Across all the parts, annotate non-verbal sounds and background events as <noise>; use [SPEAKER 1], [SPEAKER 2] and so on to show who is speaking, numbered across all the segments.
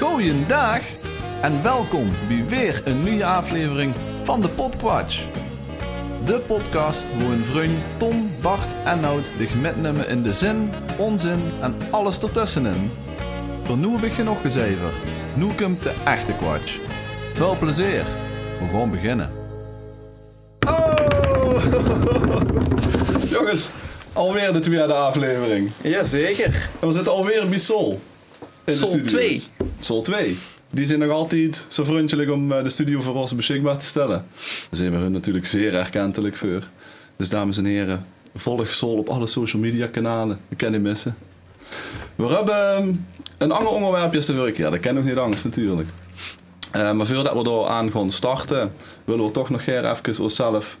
[SPEAKER 1] Goeiedag en welkom bij weer een nieuwe aflevering van de Podquatch. De podcast waar een vriend Tom, Bart en Nout zich metnemen in de zin, onzin en alles ertussenin. Voor nu heb ik genoeg gezeverd. Nu komt de echte Quatsch. Veel plezier. We gaan beginnen. Oh! <laughs> Jongens, alweer de tweede aflevering.
[SPEAKER 2] Jazeker.
[SPEAKER 1] En we zitten alweer bij Sol. In
[SPEAKER 2] Sol
[SPEAKER 1] studio's.
[SPEAKER 2] 2.
[SPEAKER 1] Sol 2. Die zijn nog altijd zo vriendelijk om eh, de studio voor ons beschikbaar te stellen. Daar zijn we hun natuurlijk zeer erkentelijk voor. Dus dames en heren, volg Sol op alle social media kanalen. Je kan niet missen. We hebben ehm, een ander onderwerpje te werken. Ja, dat kan nog niet anders natuurlijk. Eh, maar voordat we daar aan gaan starten, willen we toch nog hier even onszelf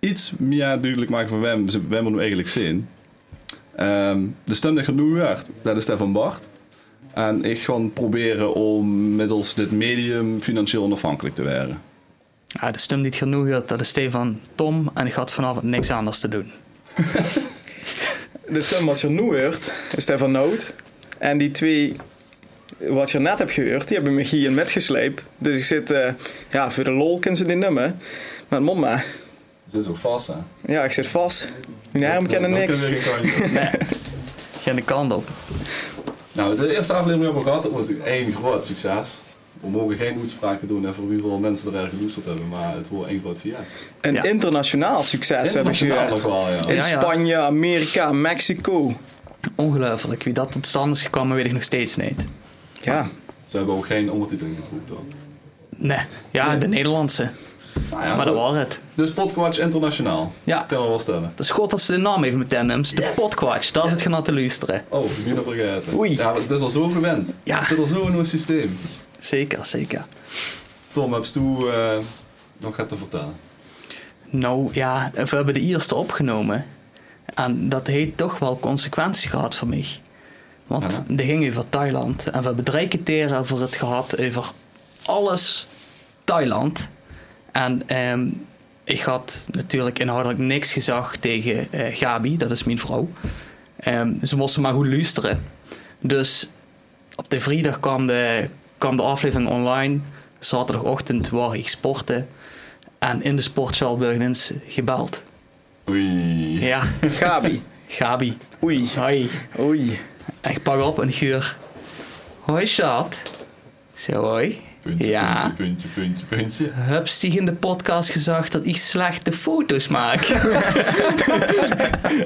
[SPEAKER 1] iets meer duidelijk maken van wem, wem we nu eigenlijk zijn. Ehm, de stem die genoeg werd, dat is Stefan Bart. En ik ga proberen om middels dit medium financieel onafhankelijk te worden.
[SPEAKER 2] Ja, de stem die het genoeg had, dat is Stefan Tom en ik had vanavond niks anders te doen.
[SPEAKER 3] De stem wat je nu hoort, is die van Noot. En die twee wat je net hebt gehoord, die hebben me hierin metgesleept. Dus ik zit, eh, ja, voor de lol kunnen ze die nummer. Met mama,
[SPEAKER 1] Dit is ook vast, hè?
[SPEAKER 3] ja, ik zit vast. Mijn arm kennen niks. <laughs>
[SPEAKER 2] Geen de kant op.
[SPEAKER 1] nou, de eerste aflevering hebben we gehad. Dat was natuurlijk één groot succes. We mogen geen uitspraken doen en voor hoeveel mensen er erg gedoesteld hebben, maar het wordt één groot fiasco.
[SPEAKER 3] Een
[SPEAKER 2] Ja.
[SPEAKER 3] internationaal succes heb ik
[SPEAKER 1] Internationaal
[SPEAKER 3] gehoord.
[SPEAKER 1] nog wel, ja.
[SPEAKER 3] In
[SPEAKER 2] Ja, ja.
[SPEAKER 3] Spanje, Amerika, Mexico.
[SPEAKER 2] Ongelooflijk. Wie dat tot stand is gekomen, weet ik nog steeds niet.
[SPEAKER 3] Ja,
[SPEAKER 1] Ze hebben ook geen ondertiteling gevoerd dan.
[SPEAKER 2] Nee. Ja, de Nederlandse.
[SPEAKER 1] Nou ja,
[SPEAKER 2] maar dat
[SPEAKER 1] goed.
[SPEAKER 2] was het.
[SPEAKER 1] Dus Podquatch internationaal.
[SPEAKER 2] Ja.
[SPEAKER 1] Kan wel wel stellen.
[SPEAKER 2] Het is goed dat ze de naam even meteen neemt. De Podquatch. Dat is het genat te luisteren.
[SPEAKER 1] Oh, wie nog vergeten.
[SPEAKER 2] Oei.
[SPEAKER 1] Ja, het is al zo gewend.
[SPEAKER 2] Ja.
[SPEAKER 1] Het zit al zo in ons systeem.
[SPEAKER 2] Zeker, zeker.
[SPEAKER 1] Tom, heb je toe, eh, nog gaat te vertellen?
[SPEAKER 2] Nou ja, we hebben de eerste opgenomen. En dat heeft toch wel consequenties gehad voor mij. Want
[SPEAKER 1] Ja.
[SPEAKER 2] die ging over Thailand. En we hebben drie keer teren over het gehad over alles Thailand. En ehm, ik had natuurlijk inhoudelijk niks gezag tegen eh, Gabi, dat is mijn vrouw. Ehm, ze moesten maar goed luisteren. Dus op de vrijdag kwam de, kwam de aflevering online. Zaterdagochtend waar ik sporten. En in de sportzaal Burgens gebeld.
[SPEAKER 1] Oei.
[SPEAKER 2] Ja,
[SPEAKER 3] Gabi.
[SPEAKER 2] Gabi.
[SPEAKER 3] Oei,
[SPEAKER 2] Hoi.
[SPEAKER 3] oei.
[SPEAKER 2] En ik pak op en ik huur. Hoi, schat. Ik zei hoi.
[SPEAKER 1] Puntje,
[SPEAKER 2] ja.
[SPEAKER 1] puntje, puntje, puntje, puntje.
[SPEAKER 2] Hups, die in de podcast gezegd dat ik slechte foto's maak. <laughs>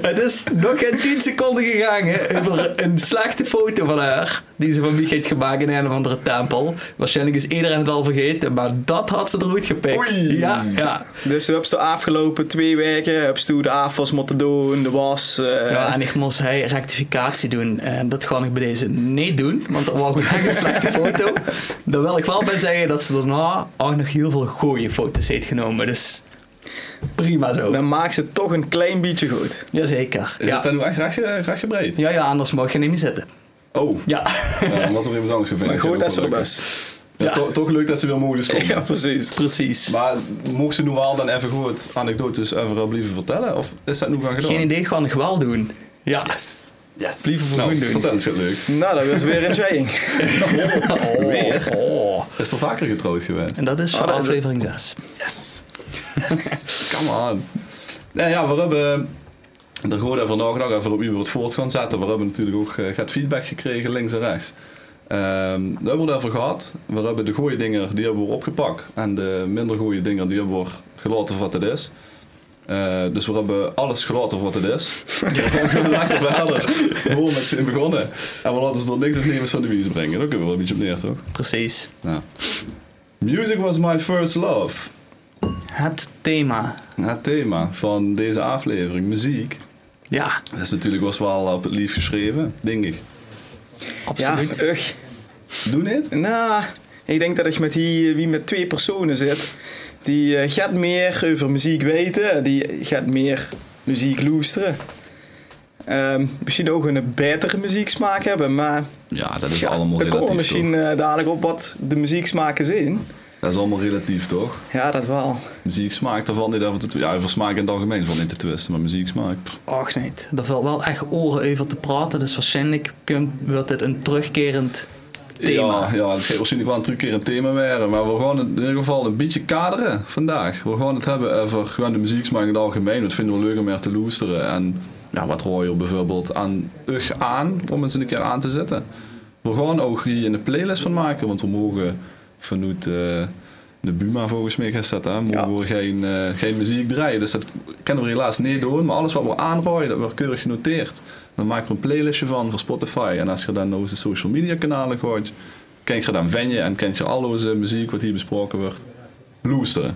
[SPEAKER 2] Het is nog geen 10 seconden gegaan hè, over een slechte foto van haar. Die ze van wie heeft gemaakt in een of andere tempel. Waarschijnlijk is iedereen het al vergeten, maar dat had ze er goed gepikt.
[SPEAKER 1] Oei.
[SPEAKER 2] Ja, ja.
[SPEAKER 3] Dus we hebben de afgelopen twee weken hebben ze de afwas moeten doen, de was. eh,
[SPEAKER 2] Ja, en ik moest hij rectificatie doen. En dat ga ik bij deze niet doen, want dat was gewoon echt een slechte foto. Daar wil ik wel bij zeggen dat ze daarna ook nog heel veel goede foto's heeft genomen. Dus prima zo.
[SPEAKER 3] Dan maakt ze het toch een klein beetje goed.
[SPEAKER 2] Jazeker.
[SPEAKER 1] Is het eh,
[SPEAKER 2] Ja.
[SPEAKER 1] dan nu echt rechtje, rechtje breed?
[SPEAKER 2] Ja, ja, anders mag je niet meer zitten.
[SPEAKER 1] Oh,
[SPEAKER 2] Ja.
[SPEAKER 1] ja, omdat er iemand anders gevonden
[SPEAKER 3] Maar goed, dat is er best.
[SPEAKER 1] Ja,
[SPEAKER 2] Ja.
[SPEAKER 1] to- toch leuk dat ze weer
[SPEAKER 2] <laughs>
[SPEAKER 1] mogen komen.
[SPEAKER 3] Ja, precies.
[SPEAKER 2] Precies.
[SPEAKER 1] Maar mocht ze nu wel dan even goed anekdotes even wel blijven vertellen? Of is dat nu gaan gedaan?
[SPEAKER 2] Geen idee, ga ik wel doen. Ja.
[SPEAKER 1] Yes.
[SPEAKER 2] Liever voor
[SPEAKER 1] nou,
[SPEAKER 2] hun doen.
[SPEAKER 1] vertel, het gaat leuk.
[SPEAKER 3] Nou, dat wordt weer een saying.
[SPEAKER 2] Oh, oh.
[SPEAKER 1] Is er vaker getrouwd geweest?
[SPEAKER 2] En dat is voor
[SPEAKER 3] dat-
[SPEAKER 2] aflevering 6.
[SPEAKER 1] Yes. Yes. Come on. Nou ja, we hebben eh, er gewoon even nog, nog even op u het voort gaan zetten. We hebben natuurlijk ook eh, gaat feedback gekregen, links en rechts. Ehm daar hebben we het over gehad. We hebben de goede dingen, die hebben we opgepakt. En de minder goede dingen, die hebben we gelaten voor wat het is. Eh, dus we hebben alles gelaten voor wat het is. We gaan lekker verder. Gewoon met z'n begonnen. En we laten ze er niks of niemand van de wies brengen. Daar kunnen we wel een beetje op neer, toch?
[SPEAKER 2] Precies.
[SPEAKER 1] Ja. Music was my first love.
[SPEAKER 2] Het thema.
[SPEAKER 1] Het thema van deze aflevering, muziek,
[SPEAKER 2] Ja,
[SPEAKER 1] dat is natuurlijk was wel op het lief geschreven, denk ik.
[SPEAKER 3] Ja,
[SPEAKER 2] absoluut.
[SPEAKER 3] ugh.
[SPEAKER 1] Doe dit?
[SPEAKER 3] Nou, ik denk dat ik met die, eh, wie met twee personen zit. Die eh, gaat meer over muziek weten. Die gaat meer muziek loesteren. Ehm, misschien ook een betere muzieksmaak hebben, maar
[SPEAKER 1] Ja, dat
[SPEAKER 3] ja, er komen misschien eh, dadelijk op wat de muzieksmaken zijn.
[SPEAKER 1] Dat is allemaal relatief, toch?
[SPEAKER 3] Ja, dat wel.
[SPEAKER 1] Muziek smaakt ervan niet over te twisten. Ja, over smaak in het algemeen is wel niet te twisten, maar muziek smaakt. pff.
[SPEAKER 2] Och nee, daar valt wel echt oren over te praten. Dus waarschijnlijk kunt- wordt dit een terugkerend thema.
[SPEAKER 1] Ja, ja, het gaat waarschijnlijk wel een truc keer een thema weer. Maar we gaan het in ieder geval een beetje kaderen vandaag. We gaan het hebben over gewoon de muzieksmaak in het algemeen. Wat vinden we leuk om meer te luisteren. En ja, wat hoor je bijvoorbeeld aan UG aan om eens een keer aan te zetten. We gaan ook hier een playlist van maken. Want we mogen vanuit eh, de Buma volgens mij gaan zetten. hè, Mogen
[SPEAKER 3] Ja.
[SPEAKER 1] we geen, eh, geen muziek draaien. Dus dat kunnen we helaas niet doen. Maar alles wat we aanrooien, dat wordt keurig genoteerd. Dan maken we een playlistje van voor Spotify. En als je dan naar onze social media kanalen gooit, kent je dan Venje en kent je al onze muziek wat hier besproken wordt. Loesteren.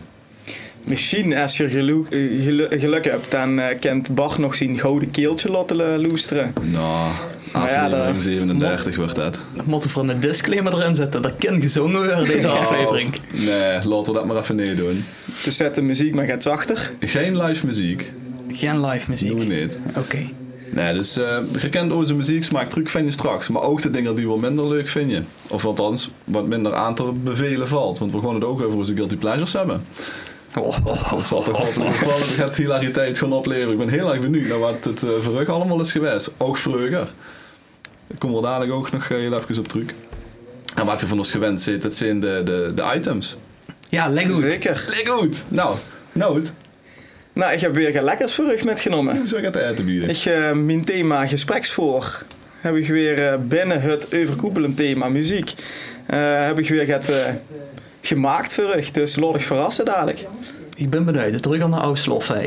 [SPEAKER 3] Misschien als je gelu- eh, gelu- geluk hebt, dan eh, kent Bach nog zijn gouden keeltje laten eh, loesteren.
[SPEAKER 1] Nou,
[SPEAKER 3] Nou ja,
[SPEAKER 1] aflevering
[SPEAKER 3] dat-
[SPEAKER 1] 37 wordt dat.
[SPEAKER 2] Moeten we er een disclaimer erin zetten. Dat kan gezongen worden deze
[SPEAKER 1] Oh.
[SPEAKER 2] aflevering.
[SPEAKER 1] Nee, laten we dat maar even nee doen.
[SPEAKER 3] Dus zet de muziek maar gaat zachter.
[SPEAKER 1] Geen live muziek.
[SPEAKER 2] Geen live muziek.
[SPEAKER 1] Doen we niet.
[SPEAKER 2] Oké.
[SPEAKER 1] Nee, dus eh, je kent onze muzieksmaak, truc vind je straks. Maar ook de dingen die wel minder leuk vind je. Of althans, wat minder aan te bevelen valt. Want we gaan het ook over onze guilty pleasures hebben.
[SPEAKER 2] Oh, oh,
[SPEAKER 1] Dat zal toch wel een bepaalde gaat hilariteit gaan opleveren. Ik ben heel erg benieuwd naar wat het eh verruk allemaal is geweest. Ook vreugder. Daar komen we dadelijk ook nog eh, heel even op terug. En wat je van ons gewend zit, dat zijn de, de, de items.
[SPEAKER 2] Ja, leg goed.
[SPEAKER 3] Zeker.
[SPEAKER 1] Lekker goed! Nou, Noot,
[SPEAKER 3] Nou, ik heb weer geen lekkers voor u metgenomen.
[SPEAKER 1] hoe zou ik het eten bieden?
[SPEAKER 3] Ik, eh, mijn thema gespreksvoor heb ik weer eh, binnen het overkoepelend thema muziek. eh, heb ik weer het, eh, gemaakt voor u. Dus laat ik verrassen dadelijk.
[SPEAKER 2] Ik ben benieuwd. Terug aan de Ooslof, hé.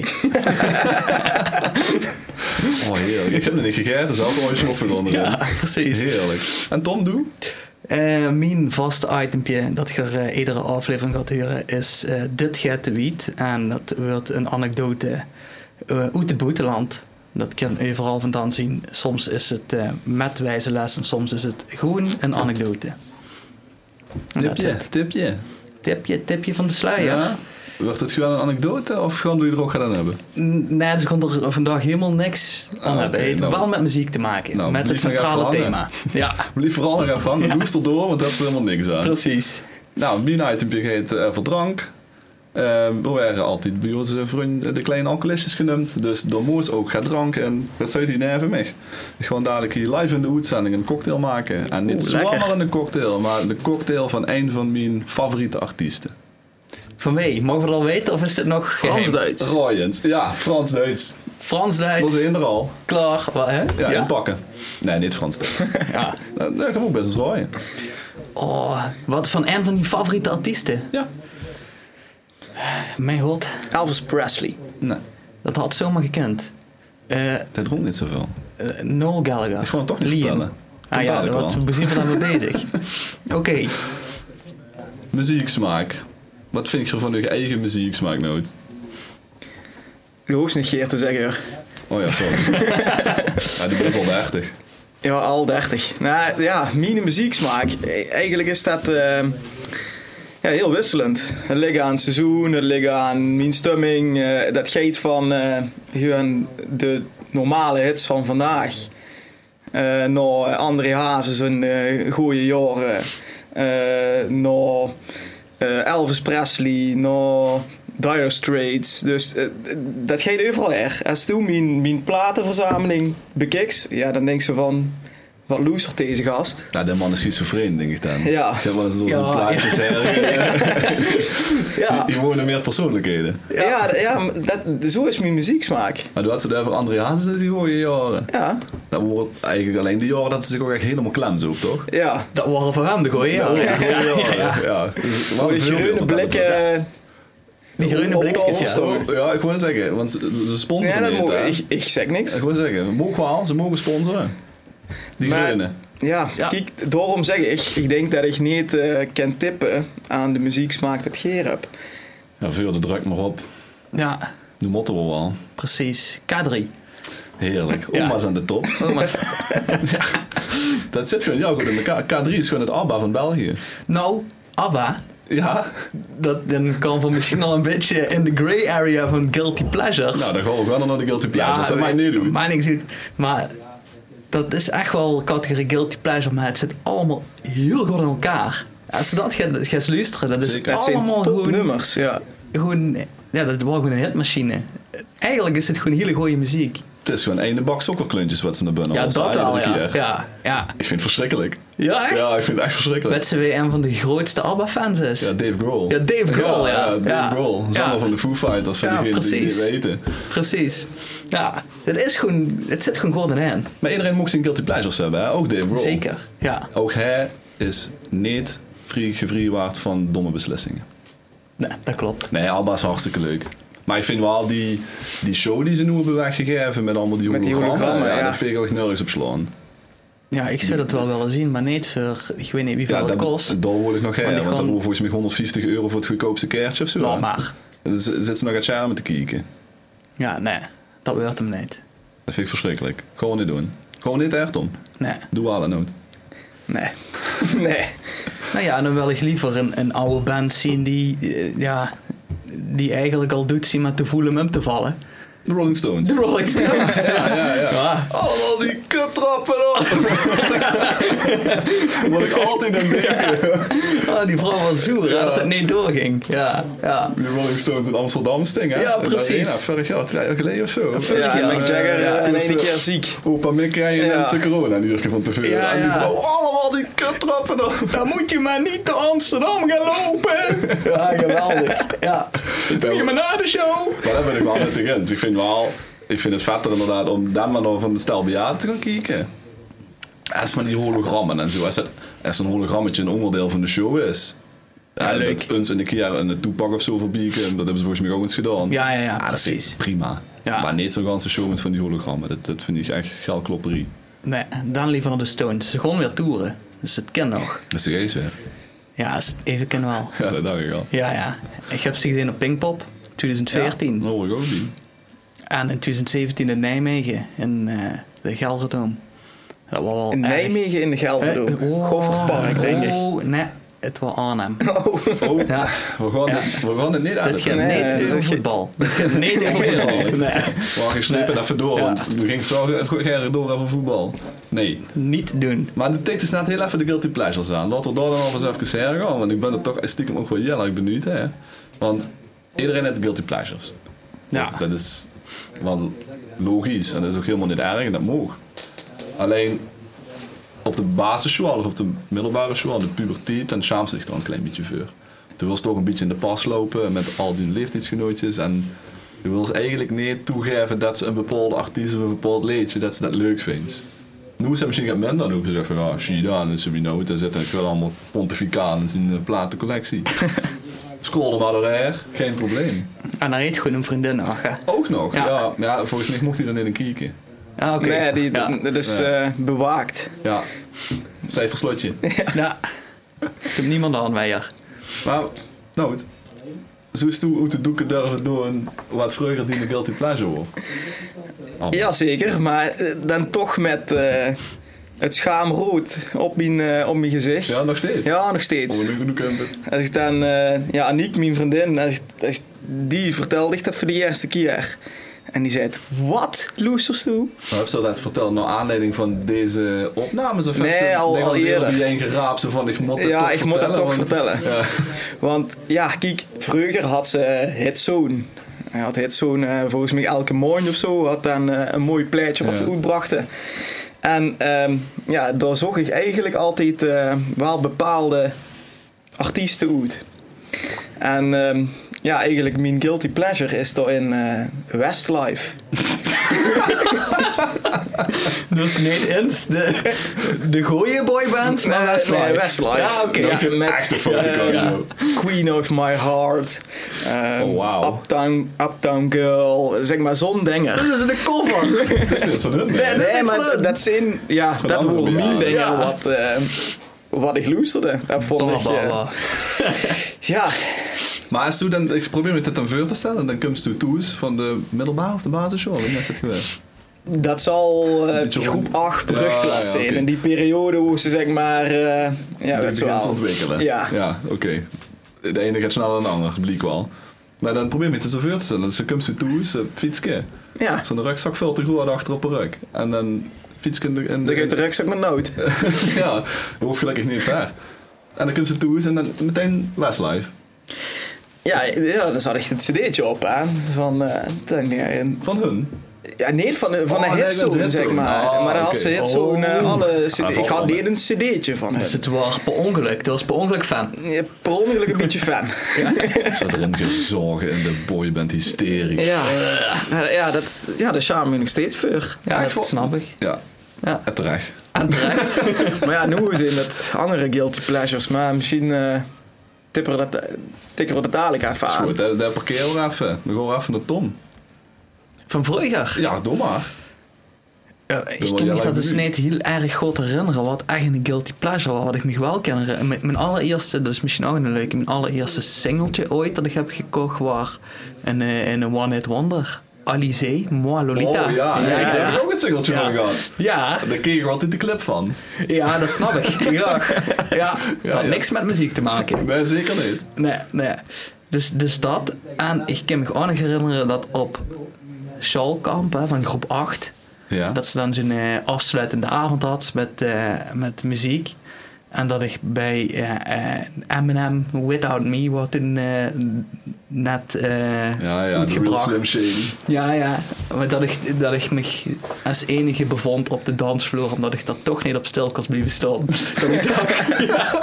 [SPEAKER 1] Oh, heerlijk. Ik heb nog niet gegeten, zelfs al je schoffel onderin.
[SPEAKER 2] Ja, precies.
[SPEAKER 1] Heerlijk. En Tom, doe?
[SPEAKER 2] Eh, mijn vaste itempje dat ik er eh, iedere aflevering gaat huren is eh, Dit gaat de wiet. En dat wordt een anekdote eh uit het boeteland. Dat kan je overal vandaan zien. Soms is het eh, met wijze les en soms is het gewoon een anekdote. En dat is
[SPEAKER 1] Tipje,
[SPEAKER 2] het.
[SPEAKER 1] tipje.
[SPEAKER 2] Tipje, tipje van de sluier.
[SPEAKER 1] Ja. Wordt het gewoon een anekdote of gaan we er ook aan hebben?
[SPEAKER 2] N- Nee, dus ik kon er vandaag helemaal niks aan
[SPEAKER 1] Ah,
[SPEAKER 2] hebben.
[SPEAKER 1] oké,
[SPEAKER 2] Het
[SPEAKER 1] nou.
[SPEAKER 2] wel met muziek te maken.
[SPEAKER 1] Nou,
[SPEAKER 2] met het
[SPEAKER 1] blijf nog even
[SPEAKER 2] centrale
[SPEAKER 1] hangen.
[SPEAKER 2] thema. <laughs>
[SPEAKER 1] <laughs>
[SPEAKER 2] Ja,
[SPEAKER 1] Blijf vooral nog even hangen, Doe het door, want dat is er helemaal niks aan.
[SPEAKER 2] precies.
[SPEAKER 1] Nou, mijn itempje heet eh voor drank. Eh, we werden altijd bij onze vrienden de kleine alcoholistjes genoemd. Dus daar moest ook gaan drank en dat zou die neven mee. Ik ga dadelijk hier live in de uitzending een cocktail maken. En niet
[SPEAKER 3] Oeh, lekker.
[SPEAKER 1] zomaar een cocktail, maar de cocktail van een van mijn favoriete artiesten.
[SPEAKER 2] Van wie? Mogen we dat al weten of is dit nog geheim?
[SPEAKER 3] Frans-Duits.
[SPEAKER 1] Royens. Ja, Frans-Duits. Dat
[SPEAKER 2] Frans-Duits.
[SPEAKER 1] was in er al.
[SPEAKER 2] Klaar. Wat, hè?
[SPEAKER 1] Ja, en pakken. Nee, niet Frans-Duits.
[SPEAKER 2] Ja.
[SPEAKER 1] dat, dat kan ook best eens rooien.
[SPEAKER 2] Oh, wat van een van die favoriete artiesten.
[SPEAKER 1] Ja.
[SPEAKER 2] Mijn god,
[SPEAKER 3] Elvis Presley.
[SPEAKER 1] Nee,
[SPEAKER 2] dat had zomaar gekend. Eh eh,
[SPEAKER 1] dat roemt niet zoveel.
[SPEAKER 2] Noel Gallagher.
[SPEAKER 1] Ik ga hem toch niet
[SPEAKER 2] Liam.
[SPEAKER 1] vertellen.
[SPEAKER 2] Ah
[SPEAKER 1] Komt
[SPEAKER 2] ja,
[SPEAKER 1] dadelijk
[SPEAKER 2] wat
[SPEAKER 1] wel.
[SPEAKER 2] we
[SPEAKER 1] <laughs>
[SPEAKER 2] zijn vandaag mee bezig. Oké,
[SPEAKER 1] Muzieksmaak. Wat vind je van je eigen muzieksmaak nou? nooit?
[SPEAKER 3] Je hoeft niet Geert te zeggen hoor.
[SPEAKER 1] Oh ja, sorry. <laughs> ja, die bent wel dertig.
[SPEAKER 3] Ja, al 30. Nou ja, mine muzieksmaak. E- Eigenlijk is dat eh, ja, heel wisselend. Het ligt aan het seizoen, het ligt aan mijn stemming. eh, dat geeft van eh, gewoon de normale hits van vandaag. eh naar André Hazes een eh, goede jaren. eh naar eh, Elvis Presley, naar Dire Straits. Dus eh, dat gaat overal erg. Als toen mijn, mijn platenverzameling bekijks, ja, dan denk ze van, wat loestert deze gast?
[SPEAKER 1] Nou, die man is schizofreen, denk ik dan.
[SPEAKER 3] Ja.
[SPEAKER 1] Ik heb wel eens door
[SPEAKER 2] Ja,
[SPEAKER 1] zijn plaatjes hè.
[SPEAKER 3] Ja,
[SPEAKER 1] Die wonen meer persoonlijkheden.
[SPEAKER 3] ja. ja, maar dat, zo is mijn muzieksmaak.
[SPEAKER 1] Maar doet ze daar voor André Hazes in die gooie jaren.
[SPEAKER 3] Ja,
[SPEAKER 1] Dat wordt eigenlijk alleen de jaren dat ze zich ook echt helemaal klem zoekt, toch?
[SPEAKER 3] ja.
[SPEAKER 2] dat waren voor hem de gooien. Ja,
[SPEAKER 1] Ja,
[SPEAKER 2] ja, ja,
[SPEAKER 1] ja.
[SPEAKER 2] ja.
[SPEAKER 1] Dus wel
[SPEAKER 3] Mooie
[SPEAKER 1] een voorbeeld
[SPEAKER 3] groene
[SPEAKER 1] wat dat betreft.
[SPEAKER 3] blikken.
[SPEAKER 2] Die groene blikjes, ja.
[SPEAKER 3] Opstorm.
[SPEAKER 1] Ja, ik wou net zeggen, want ze- ze ze sponsoren
[SPEAKER 3] Ja, dat
[SPEAKER 1] niet,
[SPEAKER 3] moet,
[SPEAKER 1] hè?
[SPEAKER 3] ik, ik zeg
[SPEAKER 1] Ik
[SPEAKER 3] niks.
[SPEAKER 1] wil zeggen, mogen wel, ze mogen sponsoren. Die
[SPEAKER 3] Maar-
[SPEAKER 1] groene.
[SPEAKER 3] Ja,
[SPEAKER 2] Ja.
[SPEAKER 3] kijk, daarom zeg ik, ik denk dat ik niet eh, kan tippen aan de muzieksmaak dat Geer heb.
[SPEAKER 1] Ja, veel de druk maar op.
[SPEAKER 2] Ja,
[SPEAKER 1] De motto wel.
[SPEAKER 2] precies. K3.
[SPEAKER 1] Heerlijk.
[SPEAKER 2] Ja.
[SPEAKER 1] Oma's aan de top.
[SPEAKER 2] Oh, maar-
[SPEAKER 3] <laughs>
[SPEAKER 1] Dat zit gewoon jou goed in elkaar. K3 is gewoon het ABBA van België.
[SPEAKER 2] Nou, ABBA,
[SPEAKER 1] Ja,
[SPEAKER 2] dat dan kan van misschien al een beetje in de grey area van guilty pleasures.
[SPEAKER 1] nou dan gaan we gewoon naar de Guilty Pleasures. dat
[SPEAKER 2] maar
[SPEAKER 1] mij niet doen.
[SPEAKER 2] Maar niks doet. Maar dat is echt wel categorie guilty pleasure, maar het zit allemaal heel goed in elkaar. Als je dat gaat, gaat luisteren, dat is
[SPEAKER 1] Zeker.
[SPEAKER 3] Het zijn
[SPEAKER 2] allemaal gewoon,
[SPEAKER 3] topnummers, ja.
[SPEAKER 2] gewoon... Ja, dat was gewoon een hitmachine. Eigenlijk is het gewoon hele goede muziek.
[SPEAKER 1] Het is gewoon één bak sokkerkluntjes wat ze naar binnen
[SPEAKER 2] ja,
[SPEAKER 1] halen,
[SPEAKER 2] dat
[SPEAKER 1] zei je
[SPEAKER 2] al,
[SPEAKER 1] iedere
[SPEAKER 2] ja.
[SPEAKER 1] keer.
[SPEAKER 2] ja. Ja,
[SPEAKER 1] Ik vind het verschrikkelijk.
[SPEAKER 2] Ja, echt?
[SPEAKER 1] Ja, ik vind het echt verschrikkelijk.
[SPEAKER 2] Met z'n weer een van de grootste ABBA-fans is.
[SPEAKER 1] Ja, Dave Grohl.
[SPEAKER 2] Ja, Dave Grohl, ja.
[SPEAKER 1] Dave
[SPEAKER 2] Ja.
[SPEAKER 1] Grohl. Dat is
[SPEAKER 2] Ja.
[SPEAKER 1] allemaal van de Foo Fighters, voor
[SPEAKER 2] Ja,
[SPEAKER 1] diegenen die het
[SPEAKER 2] precies.
[SPEAKER 1] niet weten.
[SPEAKER 2] Precies. Ja, het, is gewoon, het zit gewoon golden in.
[SPEAKER 1] Maar iedereen moet zijn guilty pleasures hebben, hè? ook Dave Grohl.
[SPEAKER 2] Zeker, ja.
[SPEAKER 1] Ook hij is niet vrij gevrijwaard van domme beslissingen.
[SPEAKER 2] Nee, dat klopt.
[SPEAKER 1] Nee, Alba is hartstikke leuk. Maar ik vind wel die, die show die ze nu hebben weggegeven met allemaal die
[SPEAKER 3] Met die
[SPEAKER 1] hologrammen,
[SPEAKER 3] hologrammen,
[SPEAKER 1] ja,
[SPEAKER 3] ja.
[SPEAKER 1] dat vind ik echt nergens op slaan.
[SPEAKER 2] Ja, ik zou dat wel willen zien, maar niet voor, ik weet niet
[SPEAKER 1] Ja,
[SPEAKER 2] hoeveel het kost.
[SPEAKER 1] daar word ik nog heen,
[SPEAKER 2] die
[SPEAKER 1] want dan
[SPEAKER 2] gewoon-
[SPEAKER 1] hoeven volgens mij 150 euro voor het goedkoopste kaartje of zo.
[SPEAKER 2] Laat
[SPEAKER 1] hè?
[SPEAKER 2] maar.
[SPEAKER 1] En Dan z- zit ze nog aan het charmen te kijken.
[SPEAKER 2] Ja, nee, dat wordt hem niet.
[SPEAKER 1] Dat vind ik verschrikkelijk. Gewoon niet doen. Gewoon niet echt om.
[SPEAKER 2] Nee,
[SPEAKER 1] Doe wel nooit. <laughs>
[SPEAKER 2] nee.
[SPEAKER 3] nee.
[SPEAKER 2] Nou ja, dan wil ik liever een, een oude band zien die, eh, ja, die eigenlijk al doet zien met te voelen om hem te vallen.
[SPEAKER 1] De Rolling Stones.
[SPEAKER 2] De Rolling Stones. <laughs> ja,
[SPEAKER 1] ja, ja.
[SPEAKER 2] ja.
[SPEAKER 1] Allemaal die kuttrappen op. <laughs> Wat ik altijd aan denk.
[SPEAKER 2] Oh, die vrouw was zoer hè,
[SPEAKER 1] Ja.
[SPEAKER 2] dat het niet doorging. Ja, ja.
[SPEAKER 1] Die Rolling Stones in Amsterdam sting, hè?
[SPEAKER 2] Ja,
[SPEAKER 1] In de
[SPEAKER 2] precies.
[SPEAKER 1] Arena, vorig jaar, twee jaar geleden of zo.
[SPEAKER 2] Vorig
[SPEAKER 3] Ja,
[SPEAKER 2] jaar.
[SPEAKER 3] Mick Jagger
[SPEAKER 1] Ja,
[SPEAKER 3] eh, in
[SPEAKER 1] dus,
[SPEAKER 3] één
[SPEAKER 1] eh,
[SPEAKER 3] keer ziek.
[SPEAKER 1] Opa Mick krijgen
[SPEAKER 3] Ja.
[SPEAKER 1] mensen corona een uurtje van tevoren.
[SPEAKER 3] Ja,
[SPEAKER 1] En die
[SPEAKER 3] ja.
[SPEAKER 1] vrouw, "Oh, allemaal die kuttrappen op.
[SPEAKER 2] Dan moet je maar niet door Amsterdam gaan lopen. <laughs> Ja, geweldig. Ja. Doe je maar na de show.
[SPEAKER 1] Maar daar ben ik wel met de grens. Dus Ik vind, wel, ik vind het vetter inderdaad om dan maar nog van de stel bejaarden te gaan kijken. Als van die hologrammen en zo. Als, het, als een hologrammetje een onderdeel van de show is. Ja,
[SPEAKER 2] leuk.
[SPEAKER 1] Dat ons in de keer een toepak of zo verbieken. Dat hebben ze volgens mij ook eens gedaan.
[SPEAKER 2] Ja, ja, ja,
[SPEAKER 1] Ah, dat vind ik
[SPEAKER 2] precies.
[SPEAKER 1] Prima.
[SPEAKER 2] Ja.
[SPEAKER 1] Maar niet zo'n ganse show met van die hologrammen. Dat, dat vind ik echt geldklopperie.
[SPEAKER 2] Nee, dan liever naar de Stones. Ze gaan weer toeren. Dus het kan nog.
[SPEAKER 1] Dat is de geest weer.
[SPEAKER 2] Ja, is het even kan wel.
[SPEAKER 1] Ja, dat dacht ik al.
[SPEAKER 2] Ja, ja. Ik heb ze gezien op Pinkpop 2014.
[SPEAKER 1] Dat hoor ik ook niet.
[SPEAKER 2] En in 2017 in Nijmegen. In eh, de Gelderdoom. Dat was wel
[SPEAKER 3] In
[SPEAKER 2] erg.
[SPEAKER 3] Nijmegen in de Gelderdoom.
[SPEAKER 2] Eh, oh,
[SPEAKER 3] Goffertpark, denk ik.
[SPEAKER 2] Oh, nee. Het was <laughs> Arnhem.
[SPEAKER 1] Oh,
[SPEAKER 2] Ja.
[SPEAKER 1] we, gaan het, we gaan het niet aan
[SPEAKER 2] Dat gaat
[SPEAKER 1] doen.
[SPEAKER 3] nee,
[SPEAKER 2] niet
[SPEAKER 3] nee,
[SPEAKER 2] over
[SPEAKER 3] dat-
[SPEAKER 2] voetbal. Dat gaat niet over voetbal. <laughs> Nee.
[SPEAKER 1] We gaan slippen even door, want we gingen zo graag door over voetbal. Nee.
[SPEAKER 2] Niet doen.
[SPEAKER 1] Maar de tikt is net heel even de guilty pleasures aan. Laten we daar dan alvast even heen gaan, want ik ben er toch stiekem ook wel heel erg benieuwd. Hè? Want iedereen heeft guilty pleasures.
[SPEAKER 2] Ja.
[SPEAKER 1] Dat is wel logisch en dat is ook helemaal niet erg en dat mag. Alleen op de basisschool of op de middelbare school, de puberteit, dan schaamt zich er een klein beetje voor. Je wil toch een beetje in de pas lopen met al die leeftijdsgenootjes en je wil eigenlijk niet toegeven dat ze een bepaalde artiest of een bepaald liedje dat ze dat leuk vindt. Nu is het misschien gaat men dan ook zeggen van, ah, Shida en Sabino, daar zitten natuurlijk wel allemaal pontificaans in de platencollectie. Scrollen maar doorheen, geen probleem.
[SPEAKER 2] En dan heet nou, gewoon een vriendin nog, hè?
[SPEAKER 1] Ook nog?
[SPEAKER 2] Ja.
[SPEAKER 1] Ja, maar ja volgens mij mocht hij er niet in kijken.
[SPEAKER 2] Ah, oké.
[SPEAKER 3] Nee, die,
[SPEAKER 2] Ja.
[SPEAKER 3] dat is eh, bewaakt.
[SPEAKER 1] Ja, cijferslotje.
[SPEAKER 2] Ja. Ik heb niemand aan mij hier.
[SPEAKER 1] maar, nou goed. Zo is het hoe de doeken durven doen wat vroeger die de guilty pleasure was.
[SPEAKER 3] Jazeker, maar eh, dan toch met eh, het schaamrood op mijn, eh, op mijn gezicht. Ja.
[SPEAKER 1] Ja, nog steeds.
[SPEAKER 3] nog steeds.
[SPEAKER 1] Oh, nu, nu kunnen we-
[SPEAKER 3] Als ik dan, eh, ja, Aniek, mijn vriendin, als ik, als ik- die vertelde ik dat voor de eerste keer. En die zei: Wat, loesters toe?
[SPEAKER 1] Maar heb ze dat verteld naar aanleiding van deze opnames? Of
[SPEAKER 3] Nee,
[SPEAKER 1] heb ze
[SPEAKER 3] al-
[SPEAKER 1] denk ik
[SPEAKER 3] al
[SPEAKER 1] eens eerder
[SPEAKER 3] eerder.
[SPEAKER 1] bij een geraap zo van ik moet het
[SPEAKER 3] Ja,
[SPEAKER 1] toch
[SPEAKER 3] ik moet dat toch
[SPEAKER 1] want-
[SPEAKER 3] vertellen.
[SPEAKER 1] Ja.
[SPEAKER 3] Want ja, kijk, vroeger had ze Hitzone. Hij had Hitzone eh, volgens mij elke morgen of zo. Had dan eh, een mooi plaatje wat
[SPEAKER 1] Ja.
[SPEAKER 3] ze uitbrachten. En ehm, ja, daar zocht ik eigenlijk altijd eh, wel bepaalde artiesten uit. En ehm, ja, eigenlijk mijn guilty pleasure is daarin eh Westlife.
[SPEAKER 2] Dus niet eens de, de goeie boybands, maar Westlife.
[SPEAKER 3] Nee, Ah, Westlife.
[SPEAKER 2] Ja, oké.
[SPEAKER 3] Dat
[SPEAKER 2] ja.
[SPEAKER 3] is een met-
[SPEAKER 1] Echte fotocodio.
[SPEAKER 3] Ja, ja. Queen of My Heart. ehm,
[SPEAKER 1] Oh, wauw.
[SPEAKER 3] Uptown, Uptown Girl. Zeg maar zo'n dinger.
[SPEAKER 2] Dat is een cover.
[SPEAKER 1] Het is niet zo'n hut meer.
[SPEAKER 2] dat is
[SPEAKER 3] Nee,
[SPEAKER 2] echt
[SPEAKER 3] maar
[SPEAKER 2] leuk.
[SPEAKER 3] dat zijn, ja, dat
[SPEAKER 1] andere
[SPEAKER 3] horen
[SPEAKER 1] bejaarden.
[SPEAKER 3] mijn dingen
[SPEAKER 2] Ja.
[SPEAKER 3] wat, eh, wat ik luisterde. Dat vond
[SPEAKER 2] Bla,
[SPEAKER 3] ik,
[SPEAKER 2] bla,
[SPEAKER 3] eh,
[SPEAKER 2] bla.
[SPEAKER 3] ja,
[SPEAKER 1] Maar als je dan, ik probeer me dit dan voor te stellen, dan komt je toes van de middelbare of de basisschool. Hoe is dat geweest?
[SPEAKER 3] dat zal eh,
[SPEAKER 1] Beetje
[SPEAKER 3] groep
[SPEAKER 1] rond-
[SPEAKER 3] 8
[SPEAKER 1] Ja,
[SPEAKER 3] brugklas
[SPEAKER 1] ja,
[SPEAKER 3] zijn.
[SPEAKER 1] oké.
[SPEAKER 3] In die periode hoe ze zeg maar, eh ja,
[SPEAKER 1] Dat
[SPEAKER 3] weet je
[SPEAKER 1] begint te
[SPEAKER 3] wel.
[SPEAKER 1] ontwikkelen.
[SPEAKER 3] Ja.
[SPEAKER 1] oké. De ene gaat sneller dan de ander, bliek wel. Maar dan probeer je me te zoveel te stellen. Dus dan komt ze toe, ze fietsen.
[SPEAKER 3] Ja,
[SPEAKER 1] Zo'n rugzak veel te groot achter op een rug. En dan fietsen in de... In
[SPEAKER 3] dan
[SPEAKER 1] de
[SPEAKER 3] gaat de rugzak met nood.
[SPEAKER 1] <laughs> ja, dat hoeft gelukkig niet ver. En dan komt ze toe en dan meteen Westlife.
[SPEAKER 3] Ja, ja, dan zat ik het cd'tje op aan. Van, eh, dan, ja, en-
[SPEAKER 1] Van hun.
[SPEAKER 3] Ja, nee, van, de- van
[SPEAKER 1] Oh,
[SPEAKER 3] een
[SPEAKER 1] jij bent
[SPEAKER 3] hitzone,
[SPEAKER 1] hitzone.
[SPEAKER 3] zeg maar.
[SPEAKER 1] Ah,
[SPEAKER 3] maar dan
[SPEAKER 1] oké.
[SPEAKER 3] had ze hitzone,
[SPEAKER 2] Oh.
[SPEAKER 3] eh, alle cd-
[SPEAKER 1] Ah,
[SPEAKER 3] Ik had
[SPEAKER 1] valt wel
[SPEAKER 3] niet een cd'tje van
[SPEAKER 2] Dus
[SPEAKER 3] hem.
[SPEAKER 2] het was per ongeluk. Dat was per ongeluk fan.
[SPEAKER 3] Ja, per ongeluk een beetje fan.
[SPEAKER 1] Zat erin gezogen in de boy bent hysterisch.
[SPEAKER 3] <laughs> Ja, ja, ja, dat, ja daar schaam me nog steeds voor.
[SPEAKER 2] Ja,
[SPEAKER 3] Echt wel.
[SPEAKER 2] dat snap ik.
[SPEAKER 1] Ja.
[SPEAKER 2] Ja.
[SPEAKER 1] En terecht.
[SPEAKER 2] En <laughs> terecht.
[SPEAKER 3] Maar ja, nu is in dat andere guilty pleasures, maar misschien eh tippen we dat, eh, tikken we dat dadelijk even
[SPEAKER 1] Is
[SPEAKER 3] aan.
[SPEAKER 1] goed, daar daar parkeer we even. We gaan even naar Tom.
[SPEAKER 2] Van vroeger.
[SPEAKER 1] Ja, doe maar.
[SPEAKER 2] Ja,
[SPEAKER 1] wel
[SPEAKER 2] ik
[SPEAKER 1] heel
[SPEAKER 2] kan me
[SPEAKER 1] erg
[SPEAKER 2] dat dus
[SPEAKER 1] benieuwd.
[SPEAKER 2] niet heel erg goed herinneren wat echt een guilty pleasure was. Wat ik me wel kan herinneren. Mijn, mijn allereerste, dat is misschien ook een leuke, mijn allereerste singeltje ooit dat ik heb gekocht was een, eh, een One Hit Wonder. Alizé, Moi Lolita.
[SPEAKER 1] Oh ja,
[SPEAKER 2] ja,
[SPEAKER 1] ja,
[SPEAKER 2] ja.
[SPEAKER 1] daar heb ik ook het singeltje
[SPEAKER 2] Ja.
[SPEAKER 1] van gehad.
[SPEAKER 2] Ja,
[SPEAKER 1] Daar kreeg je altijd de clip van.
[SPEAKER 2] ja, dat snap ik. Graag. Ja,
[SPEAKER 1] Ja,
[SPEAKER 2] had
[SPEAKER 1] ja.
[SPEAKER 2] niks met muziek te maken.
[SPEAKER 1] Nee, zeker niet.
[SPEAKER 2] Nee, nee. Dus, dus dat. En ik kan me ook nog herinneren dat op Schalkamp hè, van groep 8,
[SPEAKER 1] Ja.
[SPEAKER 2] dat ze dan zo'n eh, afsluitende avond had met, eh, met muziek. En dat ik bij eh, eh, Eminem Without Me, wat toen eh, net eh,
[SPEAKER 1] ja, ja,
[SPEAKER 2] goed
[SPEAKER 1] de real
[SPEAKER 2] gebracht.
[SPEAKER 1] slim shady.
[SPEAKER 2] Ja, ja. Maar dat ik, dat ik me als enige bevond op de dansvloer, omdat ik daar toch niet op stil kon blijven <laughs> staan. Dat ik dacht, ja.